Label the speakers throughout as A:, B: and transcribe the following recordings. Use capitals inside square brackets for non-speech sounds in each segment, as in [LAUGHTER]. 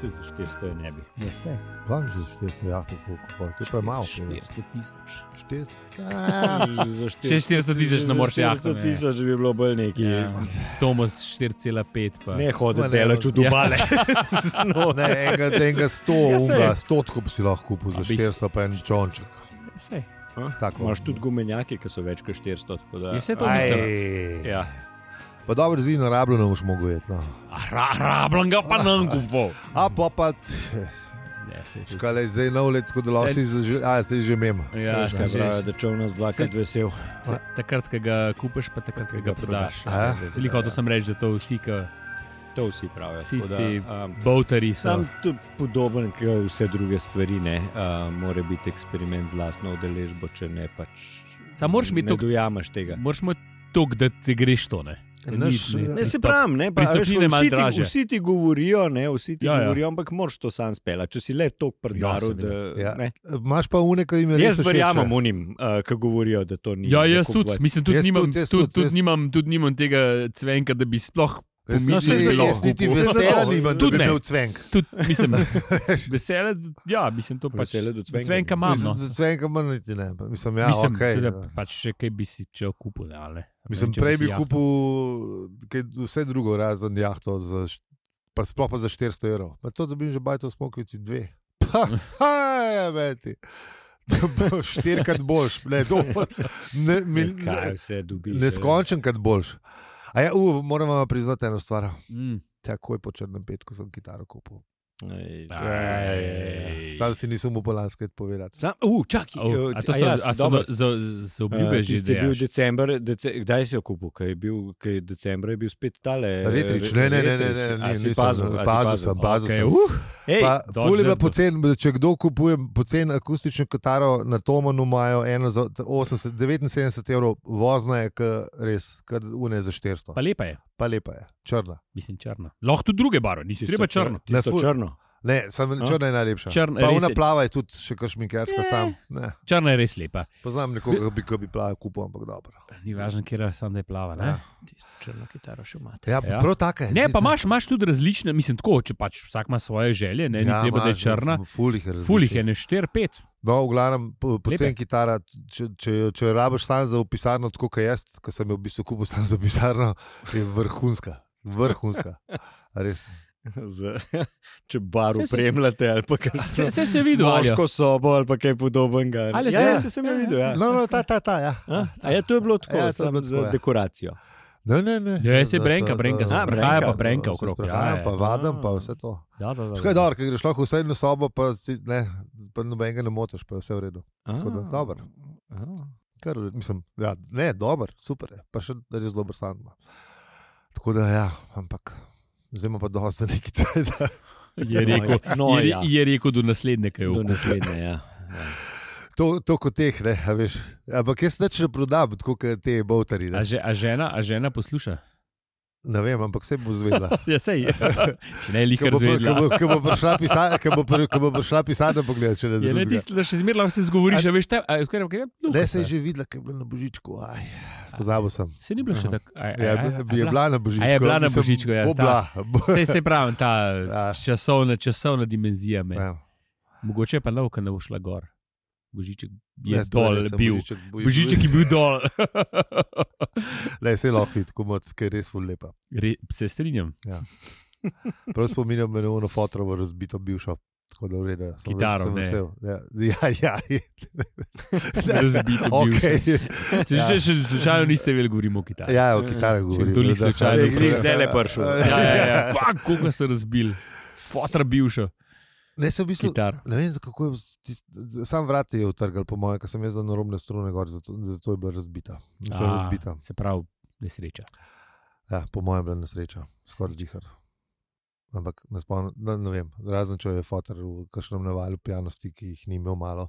A: se za 400 ne bi.
B: Ja, saj.
C: Vam že 400, ja, tako kupuje, to pa je malo.
B: 400 tisoč.
C: 400.
A: [LAUGHS]
C: Ja,
A: Za
B: 400 tisoč ne moreš jahati, ne.
A: 400 tisoč bi bilo bolj neki.
B: Ja. Tomas 4,5. pa-
A: Ne
C: Ma
A: hodite,
C: ne,
A: delač
B: Ja.
A: v
B: [LAUGHS]
A: Dubale.
C: No, ne, enega, enega sto,
A: Ja, saj.
C: unga, stotko bi si lahko kupil
B: A
C: za
B: bi si-
C: 400, pa en čonček.
B: Saj.
C: Tako.
A: Imaš tudi gumenjake, ki so več kot 400. tako da-
B: Je vse to
C: Aj.
B: mislil?
A: Ja.
C: Pa dobro, zino rabljeno boš mogel jeti. No.
B: Rabljen ga pa nam kupov.
C: A pa pa, t-
B: Ja, saj.
C: škale je zdaj nov let, tako da lahko si zažel, a se že mem.
B: Ja,
A: se
B: saj,
A: pravi,
B: že-
A: da če v nas dvakrat
B: Se-
A: vesel.
B: saj, takrat, ko ga kupiš, pa takrat, ko ga prodaš.
C: A?
B: Zelo
A: Ja.
B: hotel sem reči, da to vsi, ki
A: To vsi pravijo.
B: Vsi
A: tako da,
B: ti-
A: um,
B: bovtari so.
A: Sam tu podoben kot vse druge stvari, ne uh, more biti eksperiment z lastno udeležbo, če ne pač.
B: Samo moraš biti
A: to.
B: tako-
A: Dojamaš tega.
B: Moraš mu to, da ti greš to. Ne?
C: Naš,
B: Ni- ni-
A: Ne, se
B: Pristop-
A: pravi, ne, pa, a veš,
B: pristopnine malo
A: vsi, ti,
B: dražje.
A: vsi ti govorijo, ne, vsi ti
B: Ja,
A: ja,
B: ja.
A: govorijo, ja. ampak moraš to sam spela. Če si le tok prdaril,
B: Ja,
A: ja,
B: seveda.
A: da.
C: Ja.
A: ne.
C: Imaš pa uneka ime.
A: Jaz verjamem unim, uh, ki govorijo, da to ni.
B: Ja,
A: za
B: jaz tudi,
A: kupovati.
B: mislim, tudi
C: Jaz
B: nimam,
C: tudi, jaz
B: tudi-
C: tudi,
B: tudi
C: jaz-
B: nimam- tudi nimam tega cvenka, da bi sploh.
C: Mislim,
B: Mislim,
C: da
B: zelo
C: je niti
B: kupu.
C: vesela,
B: Zelo.
C: nimam, da
B: ja, Tudi
C: bi
B: ne.
C: imel cvenk.
B: Tudi, mislim, vesele, ja, mislim, to pač
A: Vesele do cvenka.
B: Cvenka imam. No.
C: Mislim, da Cvenka manj niti ne. pa Mislim, ja,
B: mislim,
C: okay,
B: tudi,
C: ja.
B: da pač še kaj bi si če okupil. Ne, ali ne.
C: Mislim,
B: Če
C: prej
B: si
C: bi
B: jahtal.
C: kupil kaj, vse drugo, razen jahto, za, št- pa sploh pa za 400 evrov. Pa to dobim že bajto v smokovici dve. [LAUGHS] Pa, ha, veti. Štirikrat boš, ne, to,
B: [LAUGHS]
C: ne, mil,
A: Ja, Kaj
C: ne,
A: vse dobiš?
C: neskončenkrat boš. A ja, uh, moram vam priznati eno stvar.
B: Mm.
C: Takoj po črnem petku sem kitaro kupil.
A: Ej,
B: Ej.
C: Sam si nisem upal lansko povedati.
A: Sam, uh, čakaj, uh,
B: Oh, a to
A: a
B: so,
A: ja,
B: a
A: sem
B: so
A: dober.
B: do- za, za
C: Ja,
B: obljube
A: Eh,
B: že
A: tisti je bil
B: zdaj.
A: december, dece, kdaj si jo kupil? Kaj je bil, kaj je decembra je bil spet tale.
C: Retrič, ne, ne, ne, ne, ne, ne,
A: ne,
C: nisem,
A: pazil, a si
C: pazil sem, pazil
B: Okay,
C: sem.
B: uh,
A: Ej,
C: Pa,
B: Dodge
C: ful je bila
B: Zerbo.
C: pocen, če kdo kupuje pocen akustično kitaro na Tomanu, imajo eno za 80, 79 evrov, vozna je, k, res, kot une za 400.
B: pa lepa je,
C: Pa lepa je, črna.
B: mislim, črna. Lahko tudi druge barve, nisi
A: tisto
B: treba črno.
A: čr- Tisto
C: Ne, ful-
A: črno.
C: Ne, samo
A: A?
C: črna je najlepša.
B: Črn-
C: pa
B: res
C: ona
B: je. Eh.
C: plava je tudi še kašminkerska sam. Ne,
B: Črna je res lepa.
C: poznam nekoga, ki bi, ki bi plava kupil, ampak dobro.
B: Ni važno, kje je, samo da je plava. Ne?
C: Ja.
A: Tisto črno kitaro še imate.
C: Ja,
B: Ja.
C: ja. prav taka je.
B: Ne, pa imaš, imaš tudi različne, mislim, tako, če pač vsak ima svoje želje, ne, ja, ni treba, da je
C: imaš,
B: črna.
C: Fulih je.
B: Fulih
C: različnih.
B: je ne 4, 5.
C: No, v glavnem, po- pocen
B: Lepe.
C: kitara, če, če, jo- če jo rabiš sam za pisarno, tako kot jaz, ki sem jo v bistvu kupil sam za pisarno, je vrhunska. Vrhunska. Res.
A: Z, [LAUGHS] če bar
B: Saj, saj, saj.
A: upremljate ali pa kaj
B: Vse, vse se vidi, ali
A: Moško sobo ali pa kaj podobnega.
B: Ali
A: ja,
B: se-
A: ja, se sem jo
B: ja,
A: videl. Ja.
C: No, no, ta, ta, ta, ja.
A: A, a je to je bilo tako,
C: Ja, to je
A: samo
C: bilo
A: za
C: tako, ja.
A: dekoracijo.
C: Ne, ne, ne.
B: Ja, saj
C: Da,
B: brenka,
C: da, da,
B: brenka,
C: da,
B: se
C: da,
A: sprehaja
C: brenka,
A: pa
B: brenka
C: da, se
B: okrog, ja,
C: sprehajam,
B: ja.
C: pa vadam, pa vse to.
B: Da, da, da,
C: Škoda je dobro, ker greš lahko vse eno sobo, pa, si, ne, pa nobenega ne motiš, pa je vse v redu.
B: Ah.
C: Tako da, dobro.
A: A.
C: Kar, v redu, mislim, ja, ne, dober, super je, pa še res dober sam. Tako da, ja, ampak zdaj ima pa dosti za neki cajt.
B: Je rekel,
A: no,
B: je, re-
A: ja.
B: je rekel do naslednje, kaj je
A: Do
B: ukvarjal.
A: naslednje, ja.
C: To, to kot teh, ne, a veš. Ampak jaz neč ne prodam, tako kot te bovtari.
B: A,
C: Ne.
B: že, a, žena, a žena posluša?
C: ne vem, ampak vse bo
B: [LAUGHS]
C: zvedela.
B: Ja, sej. Če ne, lih
C: Ko bo, ko
B: razvedla.
C: bo, ko bo prišla pisarna, ko bo, pri- ko bo prišla pisarna pogled, če ne
B: Je le
C: drugega.
B: tisto, da še zmerno se zgovoriš, a veš, te, a, kaj, kaj,
C: Ne, se je že videla, ker je bila na božičku. Aj, pozabil sem.
B: Se ni bilo še tako. a- a-
C: Ja,
B: a-
C: bi,
B: a
C: bi je bila na božičku.
B: A je bila na
C: mislim,
B: Božičku, ja,
C: Bo
B: ta.
C: bila. Bo,
B: Sej se pravi, ta
C: Ja.
B: časovna, časovna dimenzija me.
C: ja.
B: Mogoče pa nov, ker ne bo šla gor. Božiček je
C: Ne,
B: ne,
C: to
B: dol,
C: res,
B: bil.
C: Božiček, bo-
B: Božiček je bil dol.
C: Le, se lahko vidi, tako moc, ker je res ful lepa.
B: Re, se strinjam.
C: Prav spominjam me na ono fotrovo razbito bivšo. Tako da v redu. sem-
B: Kitaro,
C: sem
B: ne.
C: vesel. Ja, ja, ja. je-
B: Razbito bil.
C: Okej.
B: sem. Če ja. še slučajno niste vedeli, govorimo o Kitajsku.
C: Ja, o kitarah govorim.
B: kdo lih
C: da-
B: slučajno
C: da-
B: glih
A: zdajle prišel.
B: Ja, ja, ja. Pa, Koga so razbili? Fotra bivša,
C: Ne, se v bistvu,
B: kitar.
C: ne vem, kako je. s- tist- Sam vrat je utrgal, po mojem, ker sem jaz za narobne strune gor, zato, zato je bila razbita. Mislim,
B: A,
C: razbita.
B: Se pravi, nesreča.
C: Ja, po mojem, bila nesreča, skoraj zihar. Ampak ne spomnim, ne, ne vem, razen če je fotor v kakšnem navalu pijanosti, ki jih ni imel malo,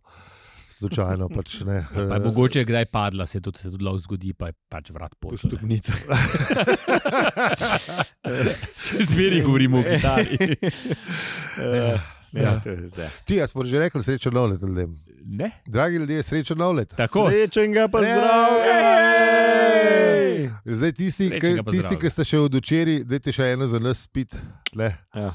C: slučajno pač
B: [LAUGHS]
C: ne.
B: Ja, Pa je mogoče je kdaj padla, se tudi, se tudi lahko zgodi, pa je pač vrat
A: Po
B: [LAUGHS] pošlo.
A: stopnicah.
B: Še
C: [LAUGHS]
B: zmeraj govorimo o Kitajsku.
A: [LAUGHS] Eh,
C: Ja.
A: Ja, to je zdaj.
C: [LAUGHS] Ti, jaz smo že rekli, srečen nov let ljudem.
B: Ne,
C: Dragi ljudje, srečen nov let.
B: tako.
A: Srečnega pa zdravega!
C: Ej! Zdaj tisti,
B: Srečnega
C: ki-
B: pa
C: tisti,
B: zdravega.
C: ki ste še od včeraj, dajte še eno za nas spit. Ne.
A: Ja.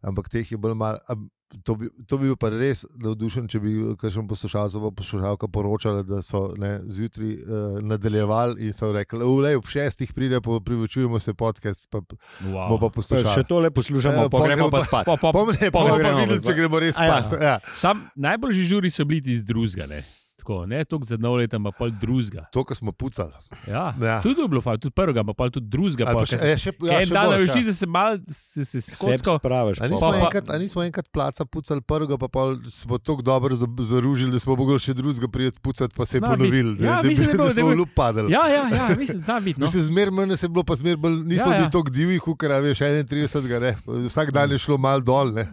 C: ampak teh je bolj malo. a To bi, to bi bil pa res navdušen, če bi kakšen poslušalec ali poslušalka poročala, da so ne, zjutraj uh, nadaljevali in so rekli: Ulej, ob šestih pride, pa privočujemo se podcast, pa bomo pa
B: Wow.
C: poslušali.
A: Še tole poslušamo,
C: Ja,
A: pa
C: pol
A: Eh, gremo
C: gremo
A: pa
C: pa-
A: spat.
B: Pa, pa,
C: Pomne, pa
A: pa
C: bomo
A: gremo
C: pa videli,
A: pa-
C: če gremo res
A: A ja.
C: spat. Ja.
B: sam, najboljši žuri so bili iz drugega. Ne? Tako, ne toliko za nov leta, ampak pol drugega.
C: To, kar smo pucali.
B: Ja,
C: Ja.
B: ja. Tudi to je bilo fajn, tudi prvega, ampak pol tudi drugega.
C: Ali
B: Pol,
C: pa še-
B: še,
C: ja, še-
B: ja,
C: ja,
B: en
C: še
B: dan,
C: boljše,
B: veš,
C: ja.
B: ti, da se mal se, se
A: Sebe
B: skocko.
A: spraviš.
C: A
A: pol.
C: nismo,
B: Pač Pa- pa-
C: enkrat, a nismo enkrat placa pucali prvega, pa pol smo tako dobro za- zaružili, da smo mogli še drugega prijeti pucati, pa se je
B: Zna biti.
C: ponovil.
B: Ja, mislim, da je bilo-
C: da
B: da je
C: smo v
B: bilo-
C: lup padali.
B: Ja, ja, ja, mislim, da zna biti. No.
C: Mislim, zmerno manj nas je bilo, pa zmerno bolj nismo
B: Ja, ja.
C: bili tako divji, kot veš, 31. Ne. Vsak dan je šlo mal dol, ne.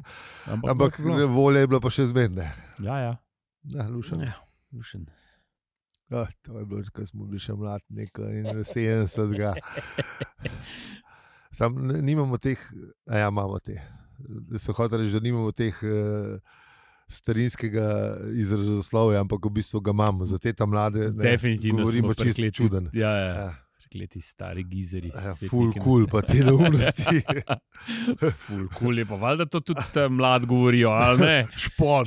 C: ampak
B: bilo.
C: ne, volje je bilo pa še zmerno.
B: no. Ja, ja.
C: Ja, lušen.
B: Ja, lušen.
C: Ja, to je bilo, ko smo bili še mladi, nekaj in 70. Sam n- nimamo teh, a ja, imamo te. Se hoče reči, da nimamo teh eh, starinskega izrazoslovja, ampak v bistvu ga imamo, za te ta mlade. Ne,
B: Definitivno.
C: govorimo
B: smo
C: čisto
B: prekleti.
C: čuden.
B: Ja, ja.
C: Ja,
B: Prekleti stari gizeri.
C: ja,
B: svetniki.
C: Ful, kul, cool, pa te neumnosti,
B: [LAUGHS] Ful, kul je pa, valjda to tudi ta mlad govorijo, ali
C: [LAUGHS]
B: ne?
C: špon.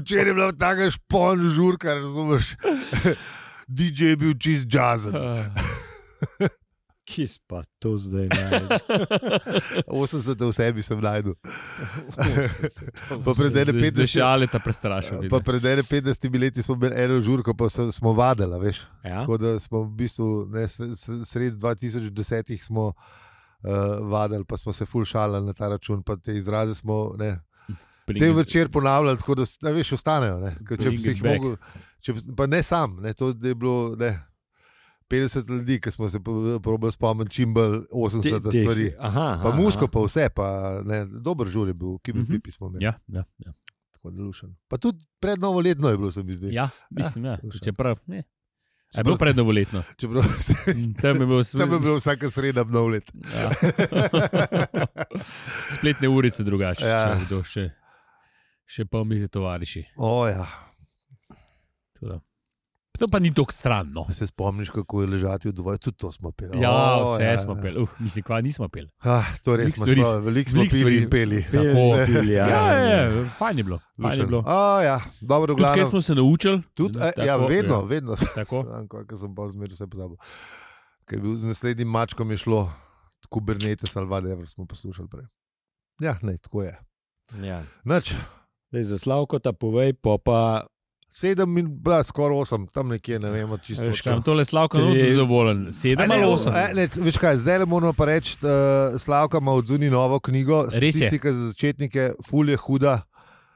C: Včeraj je bila taka špon, žurka, razumeš. [LAUGHS] DJ je bil čist
B: [LAUGHS]
C: jazen.
B: Ah.
A: Kis pa to zdaj najde.
C: 80 v sebi sem najdel.
B: Pa
C: pred ene 50
B: Šale ta prestrašil.
C: Pa pred 51 leti smo imeli eno žurko, pa se, smo vadili, veš.
A: Ja?
C: Tako da smo v bistvu ne, s- s- sredi 2010 smo uh, vadili, pa smo se fulšali na ta račun, pa te izraze smo. Ne, Cel večer ponavljali, tako da s- a veš, ostanejo. ne, ker Če bi
B: Bring
C: se
B: it
C: jih
B: back.
C: mogel, če, bi s- pa ne sam, ne, to da je bilo ne, 50 ljudi, ki smo se po- probali spomniti čim bolj 80
A: Te- te-
C: stvari.
A: Aha,
C: Pa
A: aha,
C: musko,
A: aha.
C: pa vse, pa ne, dober žur je bil, ki bi
B: Mhm.
C: pipi smo imeli.
B: Ja, ja, ja.
C: Tako da lušen. Pa tudi pred novoletno je bilo, se mi zdi.
B: ja, mislim,
C: [LAUGHS]
B: ja.
C: slušaj.
B: Čeprav, ne. A je bilo
C: [LAUGHS]
B: prednovoletno. Mm,
C: Čeprav se
B: Tam je bilo
C: tam je
B: svet.
C: bilo vsaka sreda nov let.
B: Ja. [LAUGHS] Spletne urice drugače,
C: Ja.
B: ja. če kdo še, še pol misli tovariši.
C: O, ja.
B: Tako da. To pa ni tako stran. No.
C: Se spomniš, kako je ležati v dvoju, tudi to smo peli.
B: Ja,
C: O,
B: vse
C: ja.
B: smo pel, uh, mislim, kva nismo pel.
C: Ah, to res
B: Veliko
C: smo
B: stvari-
C: spomnili, veliko smo
B: veliko
C: pili in
B: stvari-
C: peli.
A: Pil,
B: Tako.
A: pil,
B: Ja,
A: ja,
B: ja, ja, fajn je bilo. Fajn je
C: Lušen.
B: bilo.
C: O, ja. Dobro, v
B: Tudi kaj
C: glavnem.
B: smo se naučili. Hm,
C: Tudi, eh, ja,
B: tako,
C: vedno,
B: ja.
C: vedno.
B: Tako.
C: Kaj sem bolj zmeraj vse pozabil. Ker je bil z naslednjim mačkom je šlo, Kubernetes ali Vadevr smo poslušali prej. Ja, ne, tako je.
A: ja.
C: Nač,
A: Zdaj, za Slavko ta povej, pa pa
C: sedem in bila, skoraj osem, tam nekje, ne
B: Ja,
C: vemo, čisto.
A: Veš,
C: točno.
B: Kam tole slavko
A: Tri-
B: je zadovoljen. Sedem ali
C: A ne,
B: osem.
C: a Ne, veš kaj, zdaj le moramo pa reči, uh, Slavka ima odzuni novo knjigo,
B: Res je.
C: statistika za začetnike, fulje huda,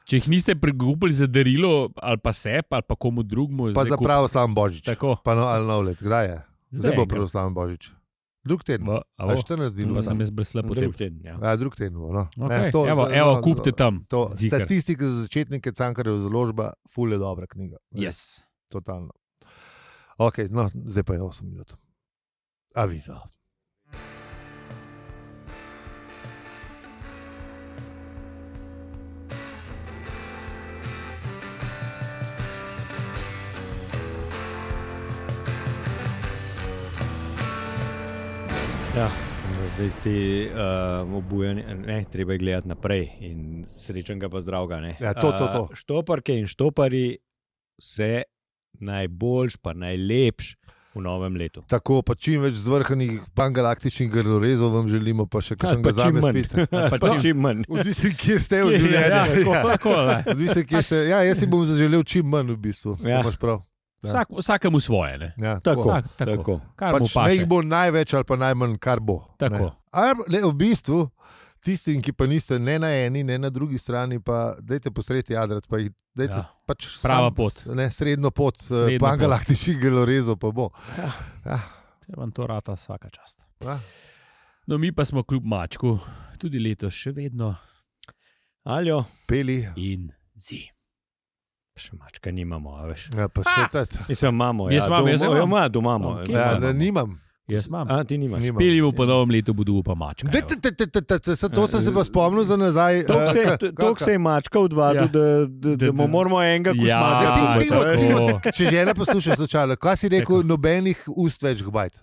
B: Če jih niste prigubili za darilo ali pa sep ali pa komu drugemu.
C: pa
B: zdaj
C: za
B: kup-
C: pravo slaven božič.
B: Tako.
C: Pa no, ali nov let, kdaj je? Zdaj, zdaj bo
B: enkrat.
C: pravo slaven božič. Drug teden,
B: V- a
C: a
B: bo?
C: 14 dni.
B: Pa sem
C: bo.
B: jaz brsla potem.
A: drug teden. Ja.
C: Ja, drug teden. bo, No.
B: Okay.
C: to,
B: evo,
C: za-
B: evo,
C: no,
B: kupite tam.
C: To,
B: Ziher.
C: statistika za začetnike, cankarjev založba, fulje dobra knjiga.
B: Yes.
C: Totalno. Ok, no, zdaj pa je 8 minut. Avizo.
A: Ja, no, zdaj ste uh, obujeni, ne, treba je gledati naprej in srečnega pa zdravega. Ne.
C: Ja, to, to, to.
A: Uh, štoparke in štopari se najboljš, pa najlepš v novem letu.
C: Tako pa čim več zvrhanih pangalaktičnih grlorezov vam želimo, pa
B: Ja,
C: še kaj
A: pa čim manj.
B: [LAUGHS]
C: spite.
A: [LAUGHS]
B: Pa
A: Pa
B: čim-
A: čim manj.
C: Odvisno, kje ste v
A: Kje je,
B: Ja,
C: življenju.
B: tako,
C: Ja.
B: tako, da.
C: Odvisno, kje ste. Ja, jaz si bom zaželel čim manj, v bistvu.
A: Ja.
C: Ja. Imaš prav.
B: Vsak, vsakemu svoje. Ne?
C: Ja,
A: Tako,
B: Vsak, tako. tako.
A: Tako.
B: Kar mu
C: Pač ne
B: paše.
C: jih bo največ ali pa najmanj, kar bo.
B: Tako.
C: Ne. Ali pa- Le, v bistvu, tistim, ki pa niste ne na eni, ne na drugi strani, pa dajte posreti jadrat. Pa jih, dajte,
B: Ja.
C: ja. pač
B: Prava
C: sam,
B: pot.
C: Ne, srednjo pot,
B: Srednjo
C: eh, pangalaktičnih grlorezov pa bo.
B: Te vam to rata vsaka čast.
C: Ja.
B: No, mi pa smo kljub mačku, tudi letos še vedno
A: Aljo,
C: Peli,
B: in zi.
A: še mačka nimamo, a veš.
C: ja, pa
B: Ah,
C: še ta.
A: Mislim, imamo.
B: Jaz
A: ja,
B: imam,
A: doma-
B: jaz imam.
A: ja, ima, doma imamo.
B: Imam, kje
A: Ja,
C: Ja,
B: imam?
A: da
C: ne,
A: ni-
C: nimam.
B: Jaz imam.
A: A, ti nimaš.
C: Nimam.
B: Peli v novem letu bodo pa mačka.
C: Da,
B: evo.
C: da, da, da, da, da, se- To sem se pa spomnil za nazaj.
A: Toliko se,
C: eh,
A: to-
C: ka-
A: toliko se je mačka odvadil,
B: Ja.
A: da, da, da,
B: Da-
A: da mu
B: da-
A: moramo enega
B: Ja,
C: ka-
A: kusmati.
C: Timo,
B: tako.
C: Timo, Timo, Če že ne poslušaš, slučajno, kaj si rekel,
B: Tako.
C: nobenih ust več gbajt.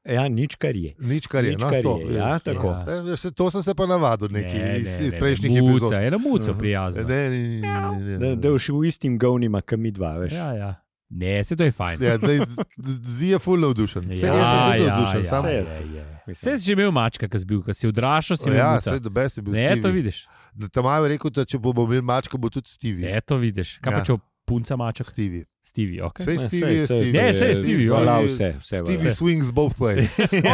A: Ja, nič kar je.
C: Nič, kar je.
A: Nič,
C: no,
A: kar
C: to,
A: je,
C: veš,
A: ja,
C: no.
A: tako.
C: Saj, veš, saj to sem se pa navadil neki iz, iz
B: muca,
C: prejšnjih
B: ja.
C: epizod. Ja.
B: Ena muca
A: Mhm.
B: prijazna.
C: Ne, ne, ne, ne,
A: Da,
C: ne,
A: da
C: ne.
A: boš v istim govnima, kot mi dva, veš.
B: Ja, ja. Ne, se to je fajn.
C: Ja, daj, z- z- Zi je full navdušen. Saj
B: Ja,
C: jaz sem tudi
B: ja,
C: navdušen.
B: ja,
C: samo-
A: Saj jaz.
B: Vse
A: Mislim,
B: si že imel mačka, ki si bil, ki si odraščal, si imel
C: Ja,
B: muca.
C: sej da bes je bil.
B: Ne, to
C: Stevie.
B: vidiš.
C: Da Tam imajo rekel, da če bomo imeli mačko, bo tudi Stevie.
B: Ne, to vidiš. Kaj pa
C: Ja.
B: če bo punca mačka,
C: Stevie.
B: Stevie, ok.
C: Sej
A: Ne,
C: Stevie je
A: saj-
C: Stevie.
B: Ne, saj je Stevie, ja.
A: Hvala vse, vse.
C: Stevie swings both ways. [LAUGHS]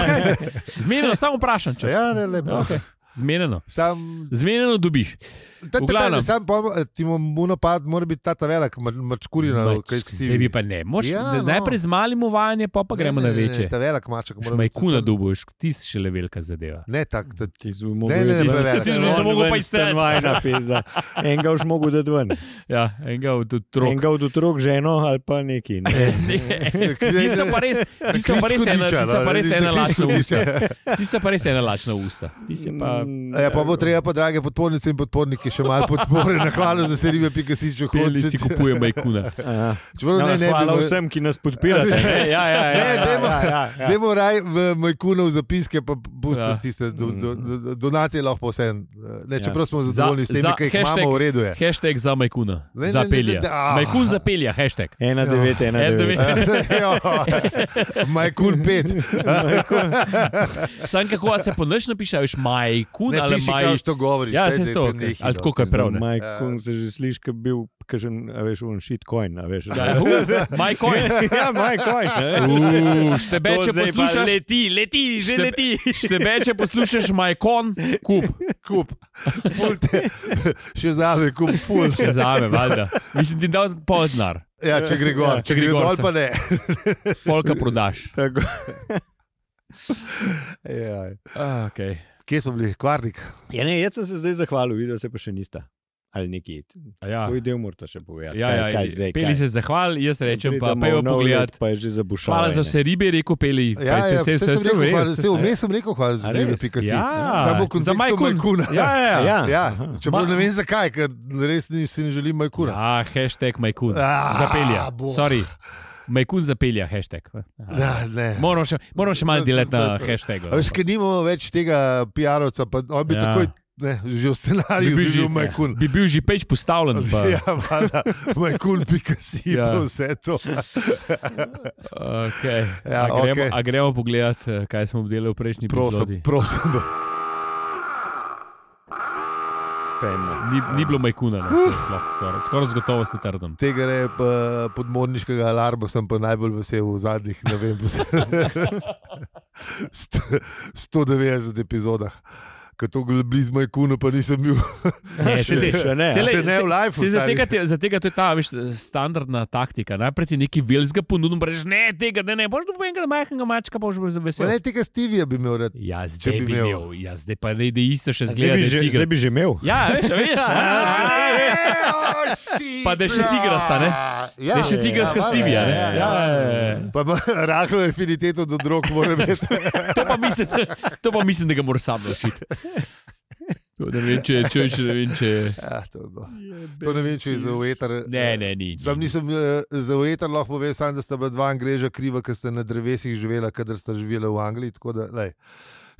B: Zmenjeno, Ja, samo vprašam, če.
C: Ja, ne, lepo.
B: Okay. Zmenjeno.
C: Sam,
B: Zmenjeno dobiš.
C: ta, ta, ta,
B: glavnem.
C: sam pa, ti mu napad mora biti ta ta velika, mačkurina, kaj
B: Tebi
C: si.
B: pa ne. Moš,
C: Ja,
B: ja,
C: no.
B: no. Najprej z malim uvajanjem, pa, pa gremo na večje.
C: Ta velik maček mora biti.
B: Majkuna dubuješ, ti si še le velika zadeva.
C: Ne, tak, ta,
B: [LAUGHS]
C: [LAUGHS]
A: Ti si
C: Ne, ne, ne,
A: mogel
C: ne, ne, ne, ne, ne, ne,
B: ne, ne, ne,
A: Stanovanjna peza. Enega už mogel dati ven.
B: Ja, enega od otrok.
A: Enega od otrok, ženo ali pa neki. Ne.
B: [LAUGHS] Ti so pa res, ti so pa res ena, no, ti so pa res ena lačna usta. Ti so pa res ena lačna usta. Ti si pa
C: Ja, pa bo treba, pa drage podpornice in podporniki, še malo podpore na hvala za serijo, pika si če
B: peli si
C: hočeš.
B: kupuje
C: [LAUGHS]
B: majkuna.
A: Aha.
C: Čeprav
A: Ja,
C: ne, ne,
A: hvala
C: bi bilo-
A: vsem, ki nas podpirate. ne. Ja, ja, ja,
C: Ne,
A: ja,
C: dajmo-
A: ja, ja, ja.
C: Dajmo raj v Majkunov zapiske, pa pustimo
B: Ja.
C: ja. tiste do, do, do, donacije, lahko vse.
A: Ja.
C: Ne, čeprav smo zadovoljni
B: Za-
C: s tem,
B: za
C: kar jih
B: hashtag-
C: imamo, v redu je. [LAUGHS]
B: Hashtag za majkuna.
C: Ne, ne,
B: Za
C: ne, ne,
B: pelja.
C: ne, ah.
B: Majkun za pelja, hashtag.
A: Ena, devet, ena,
B: Ena,
A: devet.
B: devet.
C: Ja,
B: [LAUGHS]
C: Majkun
A: [LAUGHS]
C: 5.
B: Sam kako a se po noč napiše, a veš, majkun
C: Ne
B: ali
C: piši, kaj
B: maj.
C: už to govoriš.
B: Ja,
C: daj,
B: saj
C: daj,
B: to,
C: daj,
B: ok.
C: nehaj,
B: Ali
C: no.
B: tako, kaj prav, ne?
A: Mike
C: Ja.
A: Kung se že sliši, kot bil, kažen, a veš, un shit coin, a veš.
B: Ja, uh, Maj koj.
A: [LAUGHS] ja, Mike Coin.
B: Uh, Štebe,
A: To
B: če
A: zdaj pa
B: poslušaš.
A: Leti, leti, že
B: Štebe-
A: leti.
B: Štebe, če poslušaš majkon, kup.
C: Kup. Ful te,
B: [LAUGHS]
C: še zave, kup ful.
B: Še zame, valjda. Mislim, ti dal poznar,
C: Ja, če gre gor,
A: Ja,
B: če
C: če gre
B: gre
C: dol,
B: gorca.
C: pa ne.
B: polka prodaš.
C: Tako. Ja.
B: Ah, okay.
C: Kje smo bili, kvarnik?
A: Ja, ne, jaz sem se zdaj zahvalil, videl se pa še nista. Ali neki.
B: A
A: Ja.
B: ja.
A: Svoj del morate še povedati.
B: Ja,
A: kaj,
B: ja,
A: kaj zdaj?
B: peli
A: kaj?
B: se zahval, jaz rečem pa,
A: Pridemo
B: pejo
A: v nov
B: pogled.
A: let, Pa je že zabušal.
B: Hvala za vse ribe, je rekel peli.
C: Ja, ja, vse sem rekel, hvala, vse
B: umem.
C: vmes sem rekel, hvala za
A: A
C: zrebe,
A: res?
C: pika si.
B: Ja,
C: Samo v
B: za
C: kontekstu
B: Majkun.
C: Majkuna.
B: Ja, ja, ja.
A: Ja,
C: Ja,
A: aha.
C: čeprav
B: Ma-
C: ne vem zakaj, ker res ni, si ne želim majkuna.
B: Ja, hashtag majkun.
C: Ah,
B: Zapelja.
C: bo.
B: Sorry. Majkun zapelja, hashtag. Aha.
C: Ja, ne.
B: Moramo še, moramo še
C: [LAUGHS]
B: malo delati na hashtagu.
C: A Veš, ker nimamo več tega PR-ovca, pa on bi
B: Ja.
C: ja. takoj, ne, že v
B: Bi
C: scenariju bi
B: bil že-
C: bil majkun.
B: Bi bil že peč postavljen. Pa,
C: [LAUGHS] Ja, valjda, majkun, pika si,
B: Ja.
C: pa vse to.
B: okay. a,
C: Ja,
B: gremo,
C: okej.
B: a gremo pogledat, eh, kaj smo obdelali v prejšnji
C: Prosim,
B: epizodi.
C: prosim.
A: Pejmo.
B: Ni, ni bilo majkuna, no, to je lahko skoraj skoraj z gotovostjo
C: [LAUGHS]
B: trdim.
C: Tega ne, pa podmorniškega alarma sem pa najbolj vesel v zadnjih, ne vem, sto- 190 epizodah. Ker to gre blizu majkunu, pa nisem bil.
B: Ne,
A: Še-
B: saj-
A: še ne,
B: saj
A: a?
B: le-
C: Še ne v
B: saj-
C: live.
B: saj Zato tega, te- za tega to je ta veš, standardna taktika. Najprej ti nekaj velikega ponudim, rečeš ne, tega ne, ne, boš dobil enega majhnega mačka, boš bil
C: Ne,
B: vesel.
C: tega Stevija bi imel rad.
B: Ja,
C: Če
B: zdaj bi
C: bi imel.
B: imel, ja, zdaj pa ne, da isto še
A: A Zdaj bi, že,
B: zgleda. da je tiger.
A: zdaj bi že imel.
B: Ja, veš, a
C: [LAUGHS]
B: veš. a, a, a. Ja. Pa da je še tigrasta, ne?
C: Ja,
B: Da je še tigrska
C: ja,
B: Stevija, ne?
C: ja,
B: Ja,
C: ja, ja.
B: ja, ja.
C: Pa ima rahlo afiniteto do drog, mora biti.
B: To pa mislim, to pa mislim da ga moraš sam naučiti. Tako da Ne vem, če je, če je, če ne vem, če je.
C: Ja, to, je bilo. to ne vem, če je za ujetar.
B: Ne, ne, ni.
C: Sam nisem eh, za ujetar, lahko povem, sam, da sta bila dva angreža kriva, ker sta na drevesih živela, kadar sta živela v Angliji. tako Da, lej.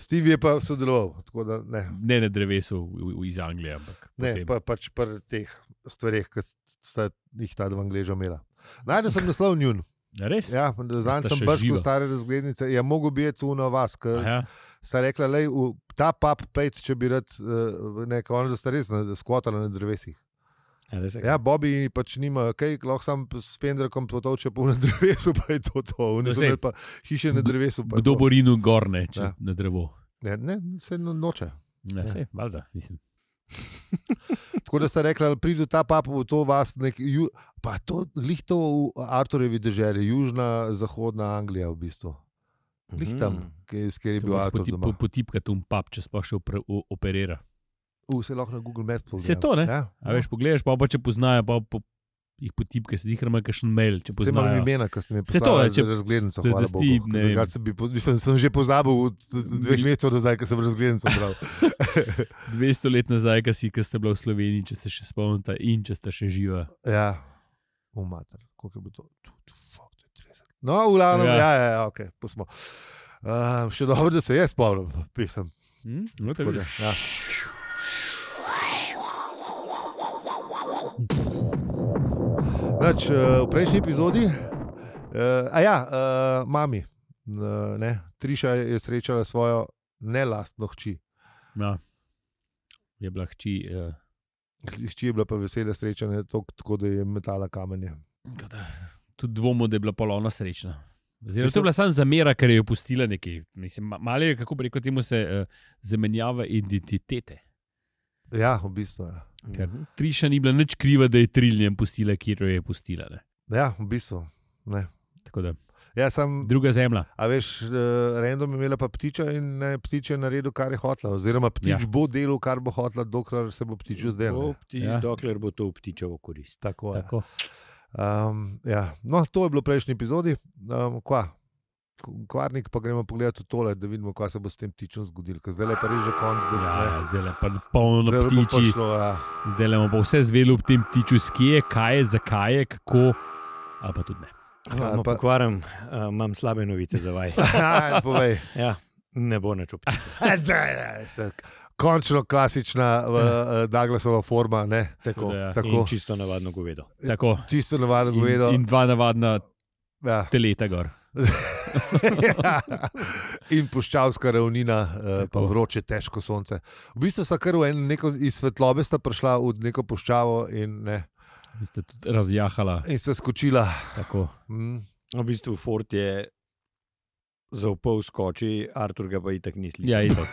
C: Steve je pa sodeloval, tako da ne.
B: Ne na drevesu v- v- iz Anglije, ampak.
C: Ne,
B: potem.
C: pa, pač pri teh stvareh, ki sta jih ta dva angleža imela. Najdel sem naslov njun.
B: Ja, Res?
C: Ja, Zanj
B: sta
C: sem
B: še
C: brško
B: živa.
C: stare razglednice. Ja, mogo bi je tu na vas, ker
B: Aha.
C: sta rekla, lej, v, ta pap pejt, če bi rad, eh, ne, ker ona da sta res na- skotala na drevesih.
A: A res je?
C: Ja, Bobby pač nima, kaj, lahko sam s pendrekom potovče po na drevesu, pa je to to. Oni
B: No,
C: so
B: Saj,
C: imeli pa hiše na drevesu. pa je
B: Kdo
C: to.
B: bo rinil gorne, če ja.
C: Ja.
B: na drevo?
C: Ne, ne, se no- noče.
B: Ja, sej, valjda, mislim.
C: Tako da sta rekla, da pride ta pap v to vas, nek, ju, pa to lihto v Arturjevi državi, južna, zahodna Anglija v bistvu.
A: Mhm.
C: Lih tam, kjer kjer
B: Mhm.
C: je
B: To
C: bil
B: moraš
C: Artur.
B: poti-
C: doma.
B: po- Potipkati um pap, če sploh še opre- o- operira.
C: U, se lahko na Google Maps pogledam.
B: Saj to, ne?
C: Ja.
B: A veš, pogledaš, pa, pa če poznajo, pa po, jih potipke, si jih ima kakšen mail, če
C: Se imam
B: poznajo.
C: imena, ki ste mi
B: Saj to,
C: poslali
B: ja, če-
C: za razglednico,
B: da- da
C: hvala
B: si ti,
C: Bogu.
B: ne vem.
C: Drugače Sem, bi, poz- mislim, sem že pozabil od dveh mesecev nazaj, ker sem razglednico bral.
B: 200 let nazaj, ki si, ki ste bila v Sloveniji, če se še spomnite in če ste še živa.
C: Ja, umater, koliko je bilo to? Tu, tu, fuck, to je 30. No, v glavnem, ja,
B: Ja.
C: ja, ja, ja ok, pustimo. Uh, še dobro, da se jaz spomnim, pisem.
B: Hm? No, to je
C: Tako da,
B: bilo.
C: ja. Nač, uh, v prejšnji epizodi, uh, a ja, uh, mami, uh, ne, Triša je srečala svojo nelastno hči.
B: Ja. Je bila hči. Uh,
C: Hči je bila pa vesela srečanja, tako, tako da je metala kamenje.
B: tako da eh, tudi dvomimo, da je bila polovna srečna. Oziroma, to
C: Mislim-
B: je bila samo zamera, ker je opustila nekaj. Mislim, ma- malo je, kako bi rekel, temu se uh, zamenjava identitete.
C: Ja, v bistvu. Ja.
B: Ker Triša ni bila nič kriva, da je triljem pustila, kjer jo je pustila. Ne?
C: Ja, v bistvu. Ne.
B: Tako da,
C: Ja, sam,
B: druga zemlja.
C: a veš, eh, random je imela pa ptiča in ne, ptič je naredil, kar je hotla. Oziroma, ptič ja.
B: Ja.
C: bo delal, kar bo hotla, dokler se bo ptiču zdelo. ne.
A: Opti, ja.
B: Ja.
A: Dokler bo to v ptičevo korist.
C: Tako je.
B: Tako.
C: Um, ja. No, to je bilo v prejšnji epizodi. Um, kva? Kvarnik, pa gremo pogledati v tole, da vidimo, kaj se bo s tem ptičem zgodilo. ker Zdaj je pa res že konc, da
B: Ja, zdaj le pa polno
C: zdaj bo
B: ptiči.
C: prišlo. Ja. [LAUGHS]
B: Zdaj le bomo pa vse zvedeli ob tem ptiču, skje, kaj je, zakaj je, kako. Ali pa tudi ne.
C: Ja,
A: Ja,
C: pa-
A: pa... Pokvaram, uh, imam slabe novice za vas.
C: Aj, povej.
B: [LAUGHS]
A: Ja, ne bo nič optičevo.
B: Ja,
C: Ne, ne, se- Končno klasična uh, Douglasova forma, ne?
A: Tako,
B: Da, ja.
C: Tako.
A: tako. Čisto navadno govedo.
B: Tako.
C: čisto navadno
B: In,
C: govedo.
B: in dva navadna
C: Ja.
B: teleta gor.
C: Ja. [LAUGHS] in puščavska ravnina, eh, pa
B: Tako.
C: vroče, težko sonce. V bistvu sta kar v eno neko iz svetlobe sta prišla v neko puščavo in, ne,
B: In Ste tudi razjahala.
C: in se skočila.
B: Tako. [LAUGHS]
C: Mm.
A: V bistvu Ford je zaupal skoči, Artur ga pa itak ni
B: Ja,
A: slišal.
B: itak.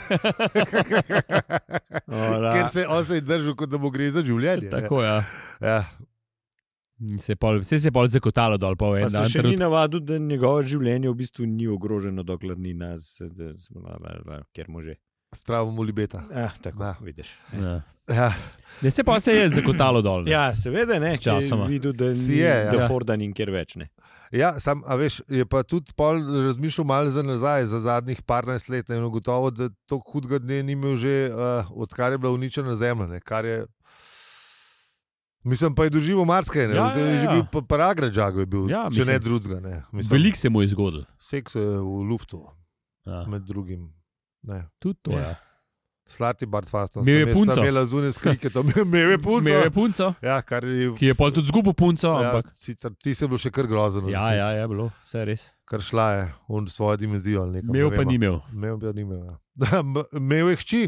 A: [LAUGHS]
C: Ker
A: Ola,
C: se on se je držal, kot da mu gre za življenje. ne.
B: Tako, ja.
C: Ja.
B: In Se je pol, vse se je pol zakotalo dol, pa
A: pa
B: en
A: se
B: dan.
A: še ni
B: Trenut,
A: navadil, da njegovo življenje v bistvu ni ogroženo, dokler ni nas, da smo bla, bla, bla, kjer može.
C: Stravo mu libeta.
A: Ah, tako,
C: Da.
A: da. vidiš.
B: ja.
C: Ja.
B: Ne, se pa se je zakotalo dol. ne.
A: Ja, seveda ne.
B: S časoma.
A: ker je Videl, da,
C: Si
A: ni,
C: je,
A: je,
C: ja.
A: da
C: Ja.
A: Forda ni nikjer več. Ne.
C: Ja, sam, a veš, je pa tudi pol razmišljal malo za nazaj, za zadnjih 12 let. Ne, in gotovo, da tako hudega dne ni imel že, uh, odkar je bila uničena zemlja. Ne, kar je, mislim, pa je doživel marsikaj.
B: Ja,
C: Ja, ja,
B: ja,
C: ja. Že
B: ja.
C: bil pa paragražak, je bil,
B: Ja,
C: ja, če
B: mislim,
C: ne drugega. ne. Mislim,
B: Veliko se mu je zgodilo.
C: Seks je v luftu,
B: Ja.
C: med drugim. Ne.
B: Tudi to. Ja.
C: Slati Bartfast, no,
B: Imel je punco.
C: Imela zunaj skrike, to imel je punco.
B: Imel je punco,
C: Ja, kar je v-
B: ki je pol tudi zgubil punco,
C: Ja,
B: ampak.
C: sicer ti si bil še kar grozen, v
B: Ja, ja,
C: resnici.
B: je bilo, vse je res.
C: kar šla je v svojo dimenzijo. ali nekam,
B: Imel
C: ne
B: pa
C: vem.
B: ni imel.
C: Imel bi jo [LAUGHS] nima. Imel je hči,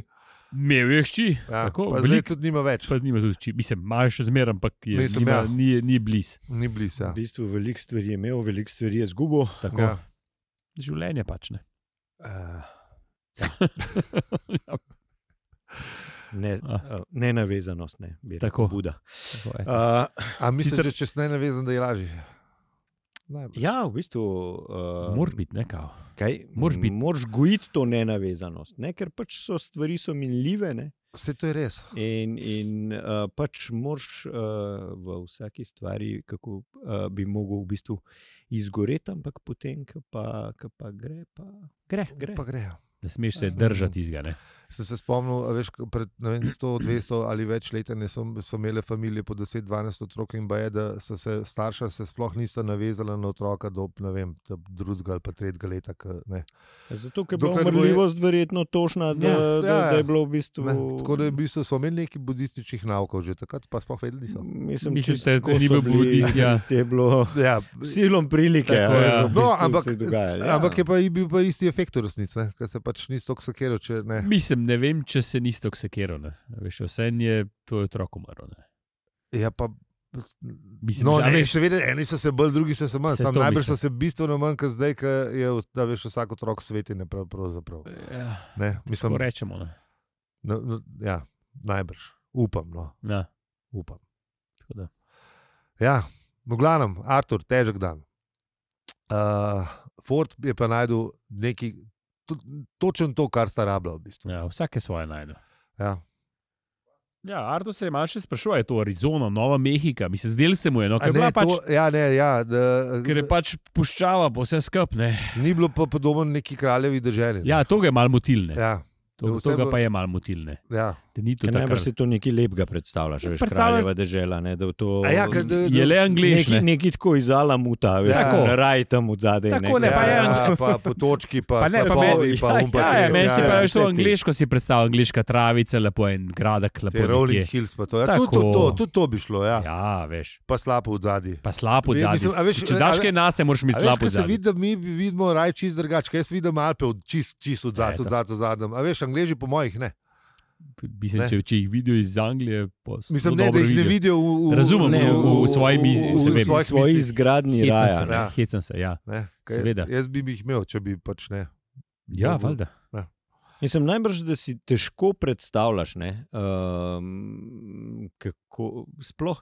B: Imel je hči,
C: ja,
B: Tako,
C: pa zdaj
B: veliko-
C: tudi nima več,
B: pa nima tudi hči. Mislim, imaš še zmeraj, ampak je,
C: Mislim,
B: nima,
C: ja.
B: ja. ni, ni blizu.
C: ni
A: V
C: blizu. Ja.
A: bistvu veliko stvari je imel, veliko stvari je izgubil.
B: Tako.
C: Ja.
B: Življenje pač ne.
A: Uh, ne,
B: Ah.
A: uh, ne navezanost, ne bi rekel.
B: Tako.
A: Buda.
B: Tako, eto.
A: Uh,
C: A mislim,
B: Sicer-
C: da če si ne navezan, da je lažje. Najbrž.
A: ja, v bistvu. Uh,
B: Moraš biti nekaj.
A: Kaj,
B: Moraš biti-
A: moraš gojiti to nenavezanost, ne? ker pač so stvari so minljive ne?
C: Vse to je res.
A: in, in uh, pač moraš uh, v vsaki stvari, kako uh, bi mogel v bistvu izgoreti, ampak potem, ko pa, ko pa gre, pa
B: Gre.
A: gre.
C: Pa gre. ja.
B: Ne smeš se držati izga. Ne?
C: Sem se spomnil, a veš, ko pred ne vem, 100, 200 ali več let so, so imele familije po 10, 12 otrok in baje, da so se starša se sploh nista navezala na otroka do ne vem, do drugega ali pa tretjega leta. ko- ne.
A: Zato, ker je bila
C: Dokler bo je-
A: umrljivost verjetno točna, da,
B: Ja,
A: ja, da,
C: ja,
A: ja, da
C: ja.
A: je bilo v bistvu.
C: Ne, Tako da je bil, so imeli neki budističnih naukov že takrat, pa sploh vedeli niso.
A: Mislim,
B: Mislim,
A: čisto
B: da
A: tako
B: ni
A: so
B: bil
A: bili, [LAUGHS]
B: budist, ja.
A: tisto je bilo
C: Ja,
A: silom prilike.
B: Tako,
A: a veš,
B: ja.
A: v bistvu
C: No, ampak,
A: se je dogajalo, ja.
C: ampak je pa, je bil pa isti efekt v resnici, ne, ker se pač ni tako sakiral. Če, ne. [LAUGHS]
B: Mislim, ne vem, če se niste oksekirali. Veš, vse je to je otrok umrl. ne.
C: ja, pa,
B: Mislim,
C: no,
B: že, a
C: ne,
B: veš-
C: še vedno, eni so se bolj, drugi so se manj.
B: Se
C: Sam
B: to
C: najbrž so
B: mislim.
C: se bistveno manj, kot zdaj, ko je da veš, vsak otrok sveti. Ne, prav, pravzaprav.
B: Ja,
C: ne,
B: tako
C: mislim,
B: rečemo. Ne?
C: no, no, ja, najbrž. Upam. No,
B: Ja,
C: upam.
B: tako da.
C: Ja, v glavnem, Artur, težek dan. Uh, Ford je pa najdel neki, to, točen to, kar sta rabljal. V bistvu.
B: ja, vsake svoje najdu.
C: ja.
B: Ja, Ardo se je malo še sprašoval, je to Arizona, Nova Mehika, mislim, zdel se mu je, no,
C: A
B: ker, ne,
C: Ne,
B: pač,
C: to, ja, ne, ja, da,
B: ker je pač puščava, pa vse skupne.
C: Ni bilo pa podobno neki kraljevi državi.
B: Ja, to ga je malo motilne. Ja,
C: ja,
B: to,
C: vse
B: to ga
C: bo-
B: pa je malo motilne.
C: ja.
B: Da ni to
A: Ker
B: tako.
A: najbrž si to nekaj lepega predstavljaš, veš,
B: Predstavljaš-
A: kraljeva dežela. Ne, da v to,
C: A ja, kad-
B: Je le angliš.
A: Nekaj,
B: Ne?
A: nekaj tako iz Alamuta, veš,
C: Ja.
A: tako. raj tam od zadaj.
B: Tako, ne,
A: ne,
B: pa je-
C: ja, pa po točki, pa,
B: [LAUGHS] Pa ne, pa
A: me-
C: slapovi, pa um, pa
A: Ja,
B: Ja,
A: ja,
B: ja, meni si
A: ja,
B: pa več
A: vse
B: to
A: ti.
B: angliško si predstavljal, angliška travica, lepo en gradek, lepo
C: Te Rolling
B: nekje.
C: Hills, pa to. Ja,
B: Tako.
C: tudi, tudi, to, tudi to bi šlo, ja. ja.
B: Ja, veš.
C: pa slabo v zadnji.
B: Pa slabo
C: Ja, mislim, a veš,
B: zadnji. Če
C: a
B: daš
C: ve-
B: kaj nas, moraš mi
C: A Veš,
B: slabo
C: ko se
B: zadnji.
C: vidi, da mi vidimo raj čist drugače, kaj jaz vidim Alpe od čist, čist od
B: Ja,
C: zadaj,
B: to.
C: od zadaj, od zadaj. A veš, Angleži po mojih ne.
B: Mislim,
C: Ne.
B: če, če jih vidijo iz Anglije, pa so
C: Mislim, ne, da jih ne vidijo v, v,
B: No, Razumem,
C: ne,
B: v- v- v svoji mizi,
C: v-
B: se
C: v
B: vem.
A: v
C: svojih
A: svoji
C: mislih.
A: izgradnji
B: Hecam
A: raja.
B: se,
A: ne.
B: ja.
C: Ja.
B: hecam se, ja.
C: Ne, kaj,
B: Seveda.
C: jaz bi jih imel, če bi pač ne.
B: Ja,
C: Dobro.
B: valjda.
A: Mislim, najbrž, da si težko predstavljaš, ne, um, kako sploh.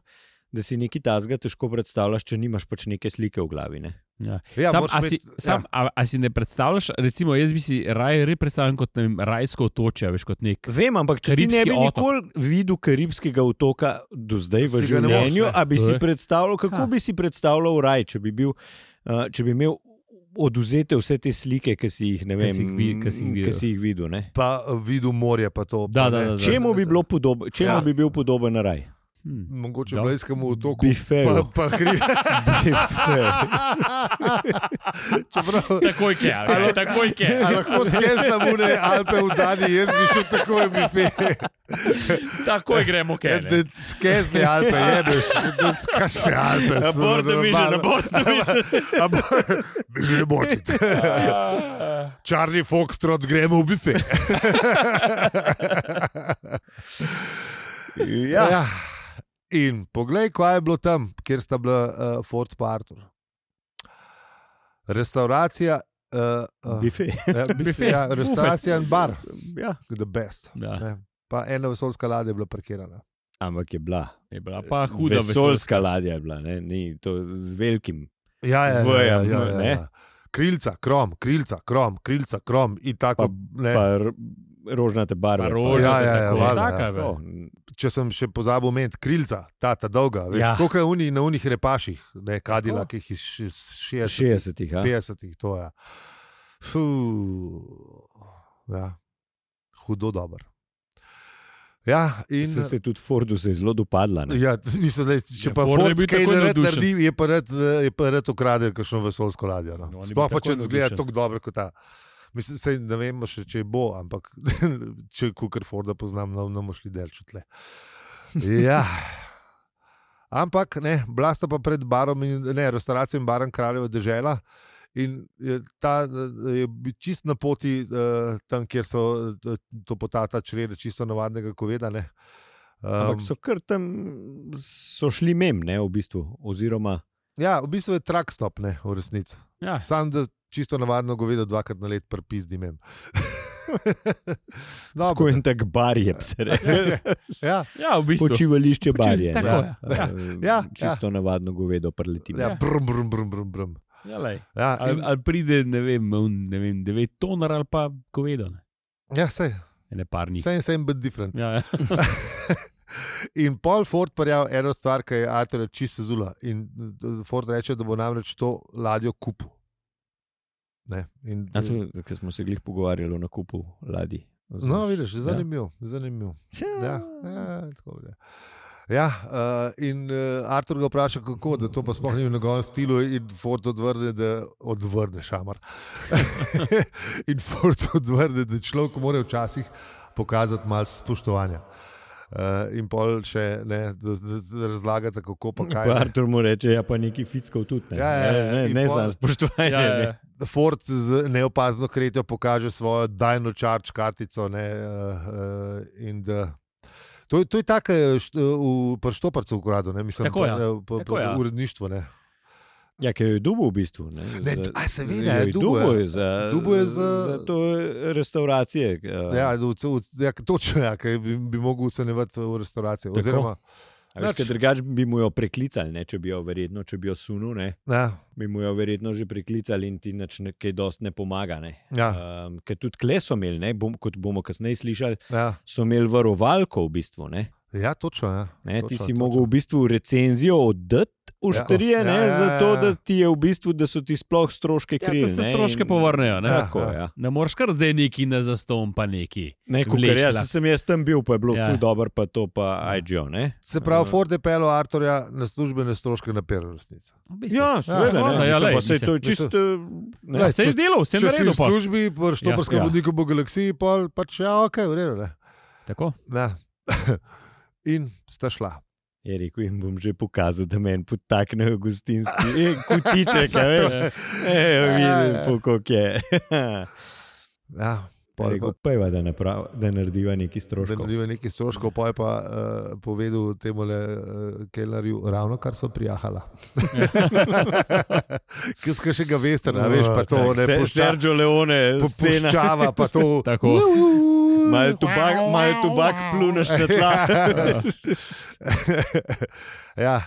A: Da si nekaj tasga težko predstavljaš, če nimaš pač neke slike v glavi. Ne?
B: Ja.
C: Ja,
B: sam,
C: moraš
B: a, si,
C: imeti-
B: sam,
C: ja.
B: a, a si ne predstavljaš, recimo, jaz bi si raje re predstavljal kot ne vem, rajsko otočje, a veš, kot nek.
A: Vem, ampak če Karibski ti ne
B: Karibski
A: bi
B: otok.
A: nikoli videl karibskega otoka do zdaj v
C: Si ga ne moreš,
A: življenju,
C: ne.
A: a bi
B: To
A: si
B: je.
A: predstavljal, kako
B: Ha.
A: bi si predstavljal raj, če bi, bil, uh, če bi imel oduzete vse te slike, ki si jih, ne
B: Ki
A: vem,
B: si jih vi- ki si jih
A: ki
B: videl.
A: si jih videl. ne.
C: Pa videl morje, pa to.
B: Da,
C: pa
B: da,
C: ne.
B: da, da.
A: Čemu bi, bilo podob, čemu ja.
C: Ja.
A: bi bil podoben
C: [LAUGHS]
A: raj?
B: Hm.
C: Mogoče
B: Da.
C: blejskemu otoku.
A: Biferu.
C: Pa, pa
B: [LAUGHS]
C: hri. Ja, Čeprav,
B: Takoj je,
C: Ali-
B: takoj je.
C: [LAUGHS] a lahko skelsam une Alpe v zadnji, jaz bi šel takoj v bife.
B: Takoj gremo,
C: Ja, Skezni Alpe, jebeš, kaj se Alpe. Bi že močit. Charlie Foxtrot, gremo v bife.
A: Ja.
C: Ja. In poglej, kaj je bilo tam, kjer sta bila uh, Fort pa Arthur. Restauracija, uh, uh,
A: Bife.
C: ja, bife, ja, restauracija in bar,
A: Ja.
C: the best.
B: Da.
C: ne. Pa ena vesoljska ladja je bila parkirana.
A: Ampak je bila.
B: Je bila pa huda
A: vesoljska ladja je bila, ne? ni to z velikim.
C: Ja, ja, ja, ja,
A: Vem,
C: ja, ja,
A: ne.
C: ja. Krilca, krom, krilca, krom, krilca, krom in tako. ne.
A: Pa r- rožnate barve. pa-
B: Roža,
C: Ja, ja, ja,
B: tako,
C: valjda,
B: taka,
C: ja.
B: je bila.
A: Oh,
C: Če sem še pozabil omeniti, krilca, ta, ta dolga, veš,
A: Ja.
C: ja. koliko je uni, na unih repaših, ne kadila, ki jih iz 60,
A: 60-ih. a?
C: 50, to ja. je. Fuh, ja. Hudo dober. Ja, in
A: Se, se tudi Fordu se je zelo dopadla. ne.
C: Ja, t- mislim, da je- če
B: Ja,
C: pa
B: Ford je
C: Ford
B: bil
C: kaj
B: takoj
C: ne rad
B: navdušen.
C: naredi, je pa rad, eh, je pa rad ukradel kakšno vesolsko ladjo.
B: No, on
C: No.
B: je
C: Sploh
B: bil
C: pa, če
B: takoj
C: zgleda
B: navdušen.
C: tako dobro kot ta. Mislim, sej, ne vemo, še, če bo, ampak [LAUGHS] če kukar Forda poznam, no, bomo šli del čutle. Ja. Ampak ne, bila sta pa pred barom, in, ne, restauracijo in barom kraljeva dežela. In je ta eh, je bil čist na poti, eh, tam kjer so eh, to potata črede, čisto navadnega goveda. ne.
A: Ampak
C: Em,
A: so kar tam, so šli mem, ne, v bistvu. Oziroma,
C: Ja, v bistvu je trak stop, ne, v resnici.
B: Ja,
C: Sam da čisto navadno govedo dvakrat na let prepizdi mem. [LAUGHS] Dobro.
A: tako en tak bar je, bi
C: [LAUGHS]
A: se reče.
C: Ja,
B: ja, v bistvu.
A: Počivališče
B: Počiv-
A: bar je. ne.
B: tako, ja.
A: Eh,
C: ja.
A: Čisto navadno govedo preleti.
C: ja, brum, brum, brum, brum, brum.
B: Ja, lej.
C: Ja,
B: ali,
C: in,
B: ali pride, ne vem, un, ne vem, devet tonar ali pa govedo, ne,
C: ja sej,
B: ne par njih.
C: sej, sej, but different.
B: Ja, ja.
C: In Paul Ford parjal eno stvar, ki je Arthur čisto zula. In eh, Ford reče, da bo namreč to ladjo kupil. Ne, in,
A: A to, ker smo se glih pogovarjali o nakupu ladij.
C: No,
A: Ja.
C: vidiš, zanimivo. zanimiv. Ja, ja, tako je. Ja, uh, in uh, Artur ga vpraša, kako, da to pa sploh ni v njegovem stilu, in Ford odvrne, da odvrne šamar. [LAUGHS] in Ford odvrne, da človek mora včasih pokazati malo spoštovanja. Uh, in pol še ne, da, da, da razlagate, kako pa kaj. ne.
A: Artur mu reče, ja, pa nekaj fickov tudi. Ne,
C: Ja, ja, ja,
A: ne, ne,
C: in
A: ne
C: pol-
A: samo spoštovanje.
B: ja,
C: [LAUGHS]
B: ja,
A: ne.
B: ja.
C: Ford z neopazno kretjo pokaže svojo Dino Charge kartico. Ne, uh, uh, in da, to, je- to je tako, eh, v prštoparcu ukradel, ne mislim,
B: Tako,
C: pa,
B: ja.
C: eh, pa-
B: Tako,
C: pa
B: ja.
C: uredništvo. Ne.
A: Ja, ki jo je dubo v bistvu. Ne,
C: Ne,
A: Za-
C: a seveda,
A: jo
C: je dubo, ja.
A: je za,
C: Dubo je za-
A: za to eh, restauracije.
C: Ja, v ce- v- ja, točno, ja, kaj bi, bi mogel ocenjevati eh, v restavraciji.
A: Tako.
C: Oziroma, nič.
A: Drugač bi mu jo preklicali, ne, če bi jo verjetno, če bi jo sunul, ne,
C: ja,
A: bi mu jo verjetno že preklicali in ti nič ne, kaj dost ne pomaga. Ne.
C: ja,
A: Um, ker tudi kle so imeli, ne, bom, kot bomo kasneje slišali,
C: ja,
A: so imeli varovalko v bistvu. Ne.
C: ja, točno. Ja,
A: Ne, ti
C: točno,
A: si
C: točno.
A: mogel v bistvu recenzijo oddati, ušterije, ja,
C: Ja,
A: ne,
C: ja,
A: ja,
C: ja,
A: zato
C: ja.
A: da ti je v bistvu, da so ti sploh stroške
B: Ja, da
A: krili.
B: se
A: ne,
B: stroške
A: in-
B: povrnejo, ne.
A: Tako,
C: Aha.
A: ja.
B: Ne moreš kar zdaj neki na zaston, pa neki.
A: Ne, kukar,
B: Vlečila.
A: jaz sem jaz tam bil, pa je bilo
B: Ja.
A: ja. ful dobro, pa to pa IGO. Ne?
C: Ja. Se pravi, Ford je pelil Arturja na službene stroške na peru resnica.
B: V bistvu.
A: Ja, seveda,
B: no,
A: ja,
B: da,
A: ne,
B: ja,
A: ja,
B: lej,
A: lej, pa se
B: mislim,
A: to je čisto. ne.
C: Lej,
B: Vse je delal, vse je
C: Če si
B: naredil.
C: v
B: pa.
C: službi, pa štoparskem
A: Ja.
C: ja, vodniku po galaksiji, pol pač ja, ok, v redu. ne.
B: Tako.
C: Ja. [LAUGHS] In sta šla.
A: Je rekel, jim bom že pokazal, da meni potaknejo gostinski e,
C: [LAUGHS]
A: kutiček, ja, veš. E, vidim, kako je. [LAUGHS]
C: Ja,
A: Pa
C: pol,
A: rekel,
C: pa,
A: pojva, da, naprav, da narediva neki
C: da
A: stroškov.
C: naredijo nekaj stroškov, pa je pa uh, povedal temu le uh, Kellerju, ravno kar so [LAUGHS] prijahala. Kaj skaj še ga veste, ne veš, pa to
A: Tako,
C: ne
A: Se-
C: pušča,
A: Sergio Leone, scena.
C: popuščava, pa
B: [LAUGHS]
C: to.
B: Tako.
A: Mal tobak, mal tobak pluneš na
C: [LAUGHS]
A: tla.
C: [LAUGHS]
A: [LAUGHS]
C: ja,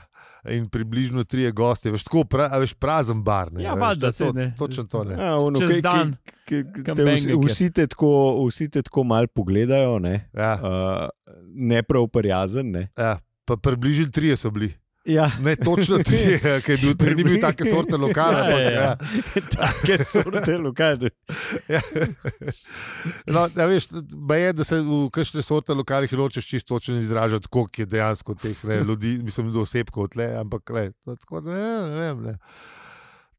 C: in približno tri gosti, veš, tako pra, a veš, prazen bar. Ne,
B: Ja,
C: a veš,
B: valjda,
C: to-
B: saj
C: to-
B: ne.
C: Točno to ne.
A: Ja, ono,
B: Čez
A: ki- ki-
B: dan.
A: ki-
B: Kam
A: te vsi-
B: bengek je.
A: Vsi te tako, vsi te tako mal pogledajo, ne,
C: Ja,
A: uh, ne prav prijazen. Ne.
C: ja, pa približno trije so bili.
A: Ja, [LAUGHS]
C: Ne, točno
B: [LAUGHS]
C: trije, ker je bil, ker ni bil take sorte lokale.
B: Ja,
C: ampak,
B: ja, ja.
C: ja.
A: Take sorte lokalne.
C: Ja. No, ja, veš, ba je, da se v kakšne sorte lokalih nočeš čisto točno izražati, koliko je dejansko teh ne, ljudi, mislim, da osebkov tle, ampak le, tako ne, ne, vem, ne.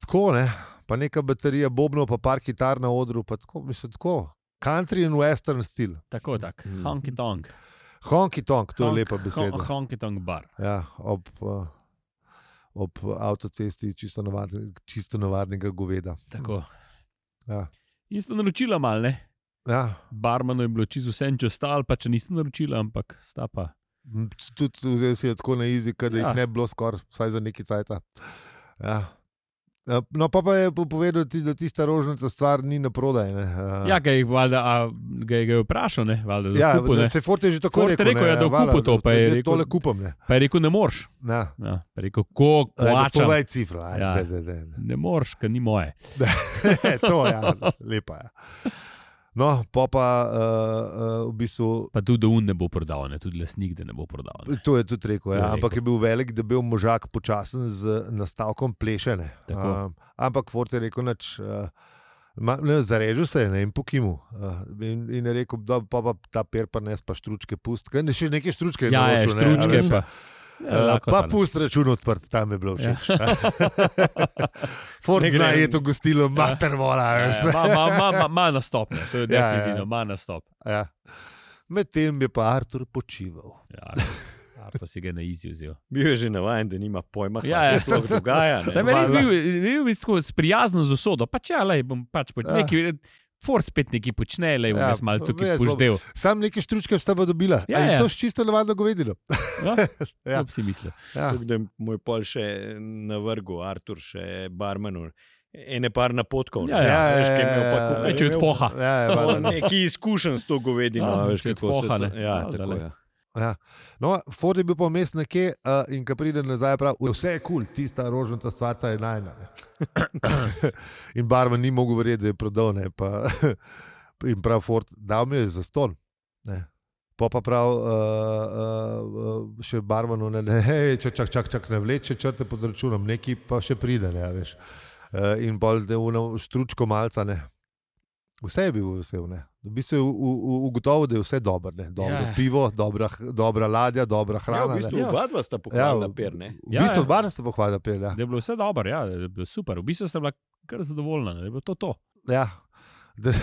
C: Tako ne, pa neka baterija bobno, pa par kitar na odru, pa tako, mislim, tako. Country in western stil.
B: Tako, tako.
A: Mm.
B: Honky tonk.
C: Honky tonk, to je
B: Honk-
C: lepa
B: hon-
C: beseda.
B: Honky tonk bar.
C: Ja, ob, eh, ob avtocesti čisto, navadne, čisto navadnega goveda.
B: Tako.
C: Ja.
B: In sta naročila malo, ne?
C: Ja,
B: Barmanu je bilo čisto vse, če stal, pa če niste naročila, ampak sta pa.
C: M, t- Tudi vzel si je tako na izi, da ja.
B: Ja.
C: jih ne bi bilo skoraj, vsaj za neki cajt. Ja. Eh, No, pa, pa je po- povedal, ti, da tista rožnata stvar ni na prodaj. Ne. eh.
B: Ja, ga je, valjda, a, ga je, ga je vprašal, ne? Valjda, da
C: ja
B: kupu, ne?
C: se Fort je že tako
B: Ford je
C: rekel.
B: rekel,
C: ne,
B: ja, da
C: eh,
B: v
C: vala,
B: kupu to,
C: da-
B: pa je
C: da
B: rekel-
C: Tole kupam. Ne,
B: Pa je rekel, ne moreš.
C: ja.
B: Ja, pa je rekel, ko
C: Ja,
B: plačam.
C: povej cifro. Ajde,
B: Ja.
C: ja. de, de, de.
B: Ne moreš, ker ni moje.
C: [LAUGHS] to je ja, lepa. Ja. No, pa pa uh, uh, v bistvu.
B: Pa tudi un ne bo prodal, ne? tudi lesnik da ne bo prodal. Ne?
C: To je tudi rekel,
B: To je
C: ja. ampak
B: rekel.
C: je bil velik, da je bil možak počasen z nastavkom plešene.
B: Tako.
C: Um, ampak Fort je rekel, nač, uh, ma- ne, zarežil se je ne, in pokimu. Uh, in, in je rekel, da pa, pa ta per pa ne spa štručke pust. Kaj, ne, še neke štručke je
B: Ja, je,
C: naročil, ne, a
B: štručke
C: veš.
B: pa. Ja,
C: Uh,
B: lakota,
C: pa
B: ne.
C: pust račun odprt, tam je bilo všeč. [LAUGHS] Fort
A: Ne
C: zna
A: grem.
C: je to gostilo, mater vola.
B: Ja,
C: veš,
B: ja, ma- ma- ma- ma- ma nastop, ne, to je
C: Ja, ja, ja.
B: definitivno, ima nastop.
C: Ja. Medtem je pa Artur počival.
B: Ja, to si ga na izi vzel.
A: Bil je že navaden, da nima pojma, kaj
B: Ja,
A: ja,
B: ja.
A: se sploh dogaja. ne.
B: Sem res
C: Hvala.
B: bil, bil bi tako sprijazen z usodo, pa če le bom pač
C: Ja.
B: počel. Ja. Ford spet neki počne, le bom
C: Ja,
B: jaz malo tukaj
C: jaz bom-
B: poždel.
C: Sam neke štručke sta pa dobila.
B: Ja,
C: Ja, ja.
B: ja.
C: To je čisto navadno govedino.
B: No?
C: Ja.
B: Ja. Si mislil.
C: Ja.
A: Tako da je moj pol še navrgu, Artur, še barmenu. Ene par napotkov. ne.
B: Ja, ja,
A: veš, kaj je imel pa
B: ja,
A: kup-
B: če
A: je imel
B: odfoha.
A: [LAUGHS]
C: Ja, ja,
A: on
C: valjda.
A: Neki izkušen s to govedino,
B: Ja,
A: a veš,
B: če
A: kako se to.
B: odfoha, ne.
A: Ja,
B: Valjda,
A: tako
B: le.
A: je.
C: ja. No, Ford je bil pa vmes nekje uh, in ko pride nazaj, pravi, vse je kul, cool, tista rožnata stvarca je najna. ne." in barman ni mogel verjeti, da je prodal. Ne, pa, [LAUGHS] in prav Ford, dal mi je za ston. Ne. Pa pa prav, uh, uh, še barvano, ne, [LAUGHS] ne, hej, čak, čak, čak, čak, ne vleče črte pod računom, neki pa še pride, ne, a veš. Uh, in bolj delovno štručko malca, ne. Vse je bil vesel, ne. Bi se ugotovil, da je vse dobro, ne. Dobro
B: Ja.
C: yeah. pivo, dobra, h- dobra ladja, dobra
A: Ja,
C: hrana.
A: v bistvu
B: Ja.
A: oba dva sta
C: v-
A: pohvalila per, ne?
C: V
B: Ja,
C: bistvu
B: ja.
C: ja, ja. se pohvala pel, ja.
B: Da je bilo vse dobro, ja, da je bilo super. V bistvu sem bila kar zadovoljna, ne, da je bilo to. to.
C: Ja, da,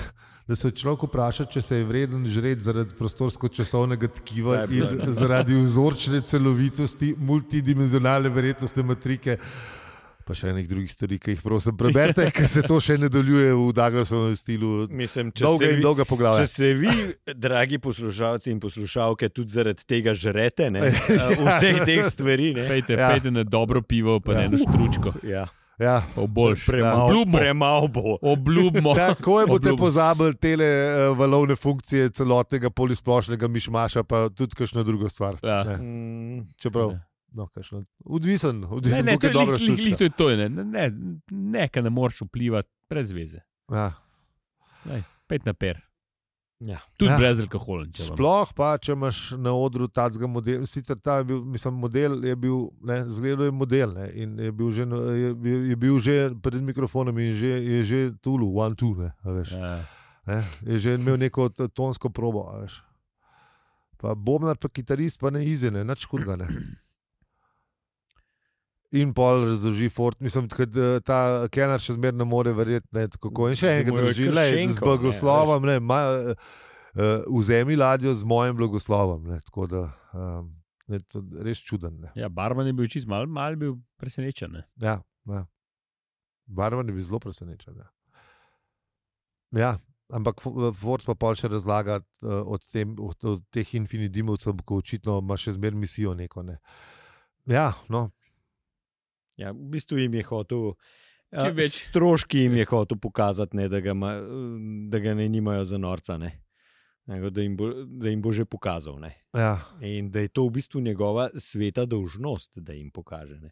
C: da se človek vpraša, če se je vreden žreti zaradi prostorsko-časovnega
A: Ja,
C: tkiva
A: je bilo,
C: in zaradi vzorčne celovitosti, multidimenzionalne verjetnostne matrike. Pa še enih drugih stvari, ki jih prosim
B: [LAUGHS]
C: preberite, ker se to še nadaljuje v Daglasovem stilu.
A: Mislim, če
C: Dolga
A: se
C: in
A: vi-
C: dolga
A: Če
C: poglavja.
A: se vi, dragi poslušalci in poslušalke, tudi zaradi tega žrete,
B: [LAUGHS]
A: ne, eh, vseh teh stvari, ne,
B: Pejte,
C: Ja.
B: ja. pejte na dobro pivo, pa ja. ne na štručko.
A: ja,
C: Ja.
B: Pa v boljš.
A: premalo
B: Obljubimo.
A: premal bo.
C: [LAUGHS]
B: Obljubimo.
C: Tako je boste
B: Obljubim.
C: pozabili te valovne funkcije celotnega polisplošnega mišmaša, pa tudi kakšno drugo stvar.
B: Ja.
C: Ne,
A: Mm,
C: čeprav, no, kakšno. Odvisen,
B: Ne,
C: odvisen,
B: ne, to
C: kako
B: je
C: dobro
B: lih- lih- lih, to je to, ne, ne, ne, ne, ker ne moreš vplivati brez veze.
C: Ja.
B: Pet na per.
A: Ja.
B: Tudi
C: Ja.
B: ja. brez alkohola. če vam-
C: Sploh pa, če imaš na odru tacga model, sicer ta je bil, mislim, model je bil, ne, zgledal je model ne, in je bil, že, na- je, bil- je bil že pred mikrofonom in že, je že tulu, one two, ne, a veš.
B: Ja.
C: Ne, je že imel neko t- tonsko probo, a veš. Pa Bobnar, pa kitarist, pa ne izene, nič hudega ne. In pol razloži Ford, mislim, da ta Kenar še zmeraj ne more verjeti, ne, kako je. In
A: Da
C: še
A: mu
C: enkrat
A: je
C: drži,
A: kar
C: le,
A: še
C: z
A: enko, ne,
C: blagoslovom, ne, ma, uh, vzemi ladjo z mojim blagoslovom. Ne, tako da, um, ne, to je res čuden. Ne.
B: ja, barman je bil čist mal, mal bil presenečen. ne.
C: Ja, ja. Barvan je bil zelo presenečen. Ja. Ja, ampak Fo- Ford pa pol še razlaga eh, od, tem, od, od teh infinidimovcev, ko očitno ima še zmeraj misijo neko. Ne. Ja, no,
A: Ja, v bistvu jim je hotel.
B: Čim
A: a,
B: več. Ja.
A: s Stroški jim je hotel pokazati, ne, da, ga ma, da ga ne nimajo za norca, ne. Nego, da, jim bo, da jim bo že pokazal. Ne.
C: ja.
A: In da je to v bistvu njegova sveta dolžnost, da jim pokaže. Ne.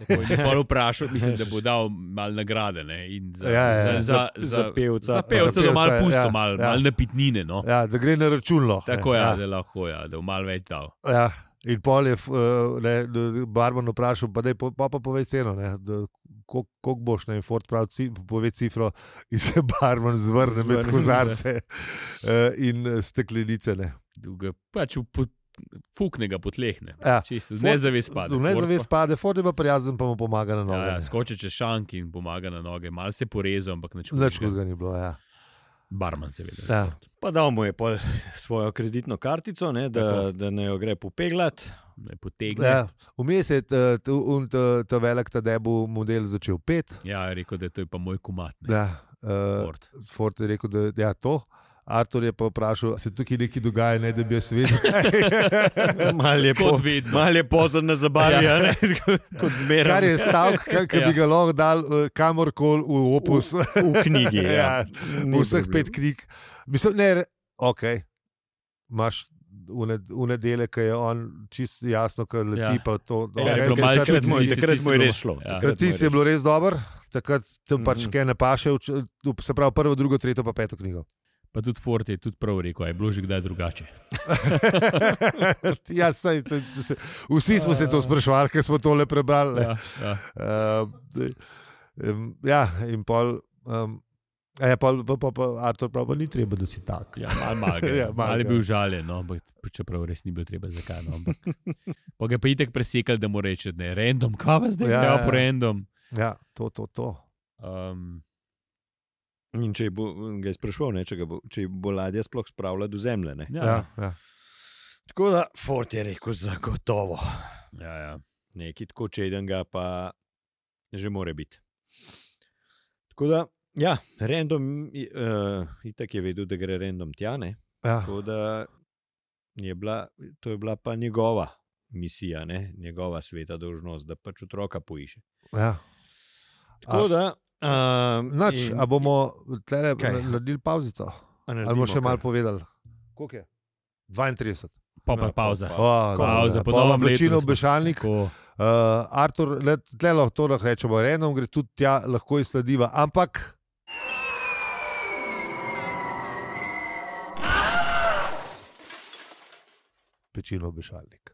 B: Tako je
A: [LAUGHS]
B: bilo vprašal, mislim, da bo dal malo nagrade. ne, in Za,
C: Ja, ja, ja.
B: za, za,
A: za pevca.
B: Za pevca, da
C: Za
B: malo
C: pevca,
B: pusto,
C: ja,
B: ja, malo
C: ja.
B: ja. mal napitnine. No. Ja,
C: ja, da gre na račun. Lahko, ne.
B: Tako je, ja.
C: ja,
B: da lahko, ja, da bo malo več dal.
C: ja. In pol je f- eh, ne, barvan vprašal, pa, daj, po- pa, pa povej ceno, ne, da- koliko koliko boš. Ne, in Ford pravi, ci, pove cifro in se [LAUGHS] barvan zvrne med
A: Zvrne,
C: kozarce eh, in steklenice. Ne.
B: Ga, pač v pot- Pukne ga po tleh, ne.
C: Ja.
B: Čisto,
C: Ford-
B: ne zavest pade.
C: V
B: Ford
C: nezavest
B: pa-
C: pade, Ford je pa prijazen, pa mu pomaga na noge.
B: Ja,
C: ne.
B: ja, skoči čez šank in pomaga na noge, malo se porezal, ampak nič
C: Nič
B: hudega.
C: hudega ni bilo. Ja.
B: Barman, seveda.
C: Ja.
A: Pa dal mu je pol svojo kreditno kartico, ne, da, da ne jo gre popeglat.
B: Ne potegne. Ja.
C: Ja. Vmes je ta- ta- un- ta ta velik Tadebu model začel pet.
B: ja, je rekel, da je to je pa moj kumat. Ne,
C: Ja. Uh,
B: Ford.
C: Ford je rekel, da je ja, to. Artur je pa vprašal, "A se tukaj nekaj dogaja, ne, da bi jaz
B: [LAUGHS]
C: vedel.
A: Mal je, po,
B: Kot vedno.
A: mal je pozorn na zabavi,
B: Ja.
A: ja. ne, [LAUGHS] kot
C: Kar
A: zmeraj
C: je stavek, ki
B: Ja.
C: bi ga lahko dal eh, kamorkoli v opus.
A: v knjigi.
C: Ja,
A: [LAUGHS] Ja. Ni
C: v vseh
A: problem.
C: pet krik. Mislim, ne, re- ok, imaš unedele, ki je on čist jasno, ki leti
B: Ja.
C: pa to.
B: Ja,
A: Ja,
B: je
C: okej,
B: bilo
C: ker
B: malo
C: takrat
A: takrat
B: čudno,
A: mu je-
C: ni-
B: nisi
A: takrat
B: ti
A: mu je
B: zelo-
A: res šlo.
B: Ja.
A: Takrat mu
C: Tisti je
A: res
C: bilo res dober, takrat tam pač
A: Mhm.
C: kaj napaše, uč- tu se pravi prvo, drugo, tretjo, pa peto knjigo. [LAUGHS]
B: Pa tudi Ford je tudi prav rekel, a je bilo že kdaj drugače.
C: ja, saj, to, to se, vsi smo
A: Ah.
C: se to sprašvali, ker smo tole prebrali. Ja.
B: Ja, ja.
C: Uh, um, ja, in pol. Um, Ja, pa, pa, pa, pa, Artur, pravi, pa ni treba, da si tak.
B: Ja, malo mal ga je.
C: [LAUGHS] Ja,
B: ja,
C: malo
B: mal je
C: ga.
B: bil žaljen, no, ampak čeprav res ni bilo treba, zakaj. No, ampak
C: [LAUGHS]
B: pa ga je pa itek presekal, da mu reče, ne, random, kaj pa zdaj,
C: Ja,
B: ja, ja.
C: ja.
B: po random.
C: Ja, to, to, to.
B: Um,
A: In če bo, mm, ga je sprašval, ne, če, ga bo, če bo ladja sploh spravila do zemlje. Ne.
B: ja, ja.
C: Ja, ja.
A: Tako da Fort je rekel, zagotovo.
B: Ja, ja.
A: Nekaj tako čedenga pa že more biti. Tako da, ja, random, uh, itak je vedel, da gre random tja. Ne.
C: ja.
A: Tako da je bila, to je bila pa njegova misija, ne, njegova sveta dolžnost, da pač otroka poiše.
C: ja.
A: Tako
C: A-
A: da. Um,
C: Nač, a bomo tlele
A: Kaj?
C: na- naredili pauzico? Ali bomo še malo povedali? Koliko je? 32.
B: Pa
A: Ja, pa
B: pa pauza.
A: pa-
C: Oh,
B: Pauza, po
C: pa
B: novem letu.
C: večino
B: smo-
C: obešalnik.
B: Tako.
C: Uh, Artur, tle lahko to lahko rečemo, eno gre tudi tja, lahko izslediva, ampak večino obešalnik.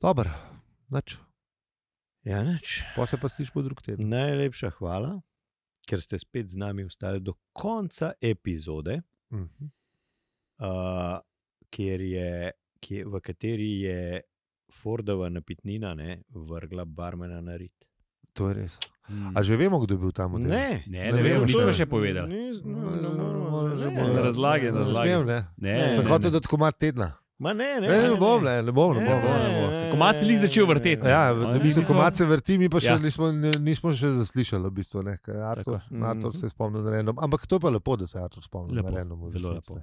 C: Dobro, nač,
A: Ja, nič.
C: pa se pa slišmo drug teden.
A: Najlepša hvala, ker ste spet z nami ostali do konca epizode,
C: Mhm.
A: uh, kjer je, kje, v kateri je Fordova napitnina ne, vrgla barmena na rit.
C: To je res.
B: Mm.
C: A že vemo, kdo je bil tam?
A: Ne,
B: Ne,
C: ne vemo, nismo
B: še povedali.
A: Nis,
C: Ne,
A: no,
C: ne,
A: ne, moramo,
C: ne,
A: ne,
C: ne, ne, ne.
B: Razlage,
C: Ne
B: razlage.
C: smem, ne.
B: Ne,
A: Ne,
B: ne,
C: Sem
A: ne,
C: hotel, da tako ima tedna.
A: Ma ne,
C: Ne, ne, ne bom, ne, ne bom. Ne
A: Ne,
C: bom.
B: bo, ne bo.
A: ne, ne,
B: Komad se lih začel vrteti.
A: ne,
C: Ja,
A: ne,
B: Oni
C: v bistvu,
B: niso-
C: ko malce vrti, mi pa še
B: Ja.
C: ja. nismo, ne- nismo še zaslišali, v bistvu, ne, kaj je Artur,
A: Tako.
C: Artur
A: Mhm.
C: se je spomnil na random. Ampak to je pa lepo, da se je Artur spomnil
B: Lepo,
C: na random.
B: zelo lepo.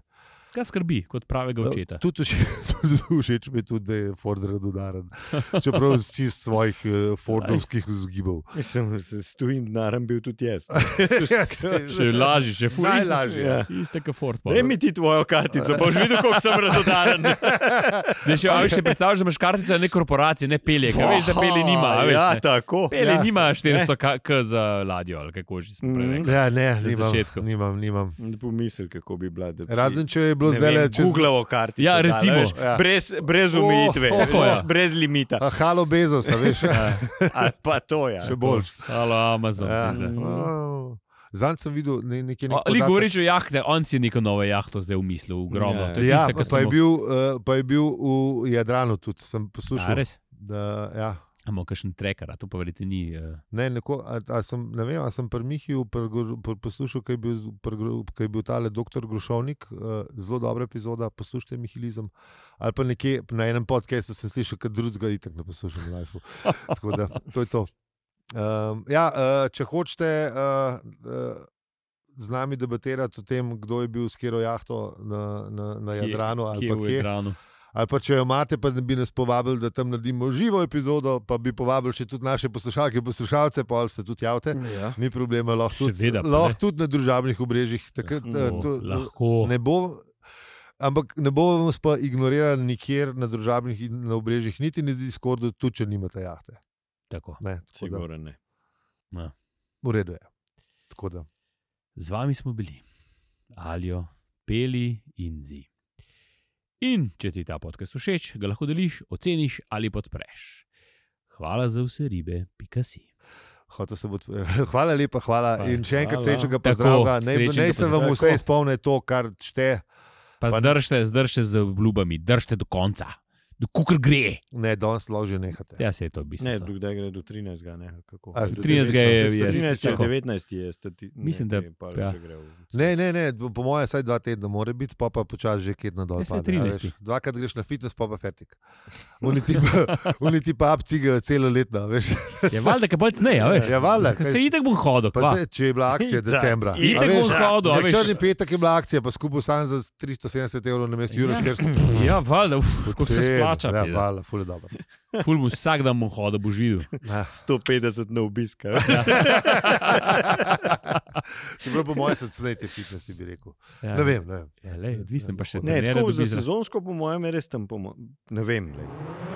B: Ga skrbi kot pravega očeta.
C: No, Tudi všeč- [LAUGHS] tudi všeč mi je tudi, da je Ford radodaren. Čeprav z čist svojih eh, Fordovskih vzgibov. Ja,
A: Mislim, se s tujim denarjem bil tudi jaz.
C: [LAUGHS]
B: Še lažje, še ful. isto-
C: Najlažje.
A: Ja.
B: Iste, kot Ford.
A: Daj mi ti tvojo kartico, boš videl, koliko sem razodaren.
B: Da še, a veš, si predstavljaš, da imaš kartico ne korporacije, ne pelje, ker veš, da pelje nima. a Veš,
A: Ja,
B: ne.
A: tako.
B: pelje
C: ja.
B: nima 400 k, k za ladjo, ali kako že smo prej
A: Mhm.
B: rekli.
C: Ja, ne,
B: Na
C: nimam,
B: začetku.
C: nimam, nimam.
A: Pomisel, kako bi bila. da bi-
C: Razen če je bilo
A: ne
C: zdaj le
A: vem,
C: čez
A: Googlavo kartico.
B: Ja,
A: dala,
B: recimo.
A: veš,
C: Ja.
A: Brez, brez omejitve,
C: Oh,
B: tako, ja.
A: brez limita.
C: Ah, Halo Bezos, a veš,
A: Ali pa to je. Ja.
C: še boljš.
B: Halo, Amazon.
C: Ja.
B: Ja.
C: Wow. Zanj sem videl ne, nekaj nekaj.
B: Ali govoriš o jahtah, on si je neko novo jahto zdaj umislil, ogromno.
A: Ja.
B: To je
C: Ja,
B: tista, ki
C: pa je,
B: sem jo-
C: bil, uh, pa je bil v Jadranu tudi,
B: A,
C: sem poslušal.
B: res?
C: Da, ja.
B: Imamo kakšen trekar, a to pa verjeti ni. eh.
C: ne, neko, a, a sem, ne vem, ali sem pri Mihiju pri Gor- pri poslušal, kaj je bil, z- pri Gro- ko je bil tale doktor Grošovnik, uh, zelo dobra epizoda, poslušajte Mihilizem. Ali pa nekje na enem podkastu sem slišal, kaj drugega itak ne poslušam v
B: [LAUGHS]
C: lifeu. Tako da, to je to. Um, ja, uh, če hočete uh, uh, z nami debatirati o tem, kdo je bil s kjero jahto na, na, na
B: Kje-
C: Jadranu ali
B: Kje
C: pa
B: v
C: kje.
B: Jadranu?
C: Ali pa če jo imate, pa bi nas povabili, da tam naredimo živo epizodo, pa bi povabili še tudi naše poslušalke, poslušalce, pa se tudi javite.
A: Ja.
C: Ni problema, lahko tudi,
B: Seveda, pa ne.
C: lahko tudi na družabnih obrežjih. Takrat, eh,
B: O,
C: to-
B: Lahko.
C: Ne bo, ampak ne bomo vas pa ignorirali nikjer na družabnih in- na obrežjih, niti na Discordu, tudi če nimate jahte.
B: Tako.
C: Ne, tako da,
A: Sigurno ne.
C: v redu je. Tako da.
B: Z vami smo bili, alijo, peli in zi. In če ti ta podcast všeč, ga lahko deliš, oceniš ali podpreš. Hvala za vse ribe, pika si.
C: Hotel sem odp- [LAUGHS] Hvala lepa, hvala.
A: Hvala.
C: hvala. In še enkrat
A: Hvala.
C: srečnega
B: Tako,
C: pozdravlja. Naj,
B: srečnega
C: naj se vam
A: pozdravka.
C: vse izpolne to, kar čte.
B: Pa
C: Pa-
B: zdržite, zdržite z obljubami, držite do konca, do kukar gre.
C: Ne, danes lahko že nehate.
B: Ja, se je to v bistvu.
A: Ne,
B: to.
A: kdaj gre do 13. Ne, kako.
C: A,
A: Do
B: 13. je- je-
A: 13.
B: tako.
A: 19. je stati. ne,
B: Mislim, da-
A: ne, pa
B: ja.
A: že gre v-
C: Ne, ne, ne, po mojem, vsaj dva tedna mora biti, pa pa počasi že kje na dol.
B: Ja, saj
C: pade, a veš.
B: 13.
C: Dvakrat greš na fitness, pa pa fertik. Oni ti
B: [LAUGHS]
C: pa- Oni ti pa apcigajo celo leto. veš.
B: Je Ja, valjda, kaj bolj cneje, veš?
C: Ja, valjda,
B: Ker
C: kaj-
B: Se itek bom hodil,
C: Pa
B: kva.
C: se, če je bila akcija
A: Itak,
C: decembra. a
A: itak
B: bom
C: veš.
B: hodil, a
C: Za
B: veš.
C: črni petek je bila akcija, pa skupaj sam za 370 evrov na mestu, Juro
B: Ja.
C: 400.
B: Ja, valjda, uf, kako se
C: Poceni.
B: splača.
C: Ja,
B: pizda.
C: hvala, ful je dobro.
B: Ful bom vsak dan bom hodil, boš videl.
C: Ja.
A: 150 na obisk.
B: Ja.
A: a veš.
C: Čeprav po mojem se cnej te fitness, bi rekel.
B: Ja.
C: Ne vem, ne vem.
B: Ja, lej, odvisen pa še
C: Ne,
A: Ne,
B: trenerja
A: tako za
B: dobi za-
A: sezonsko, po mojem, je res tam. pomo- Ne vem. glej.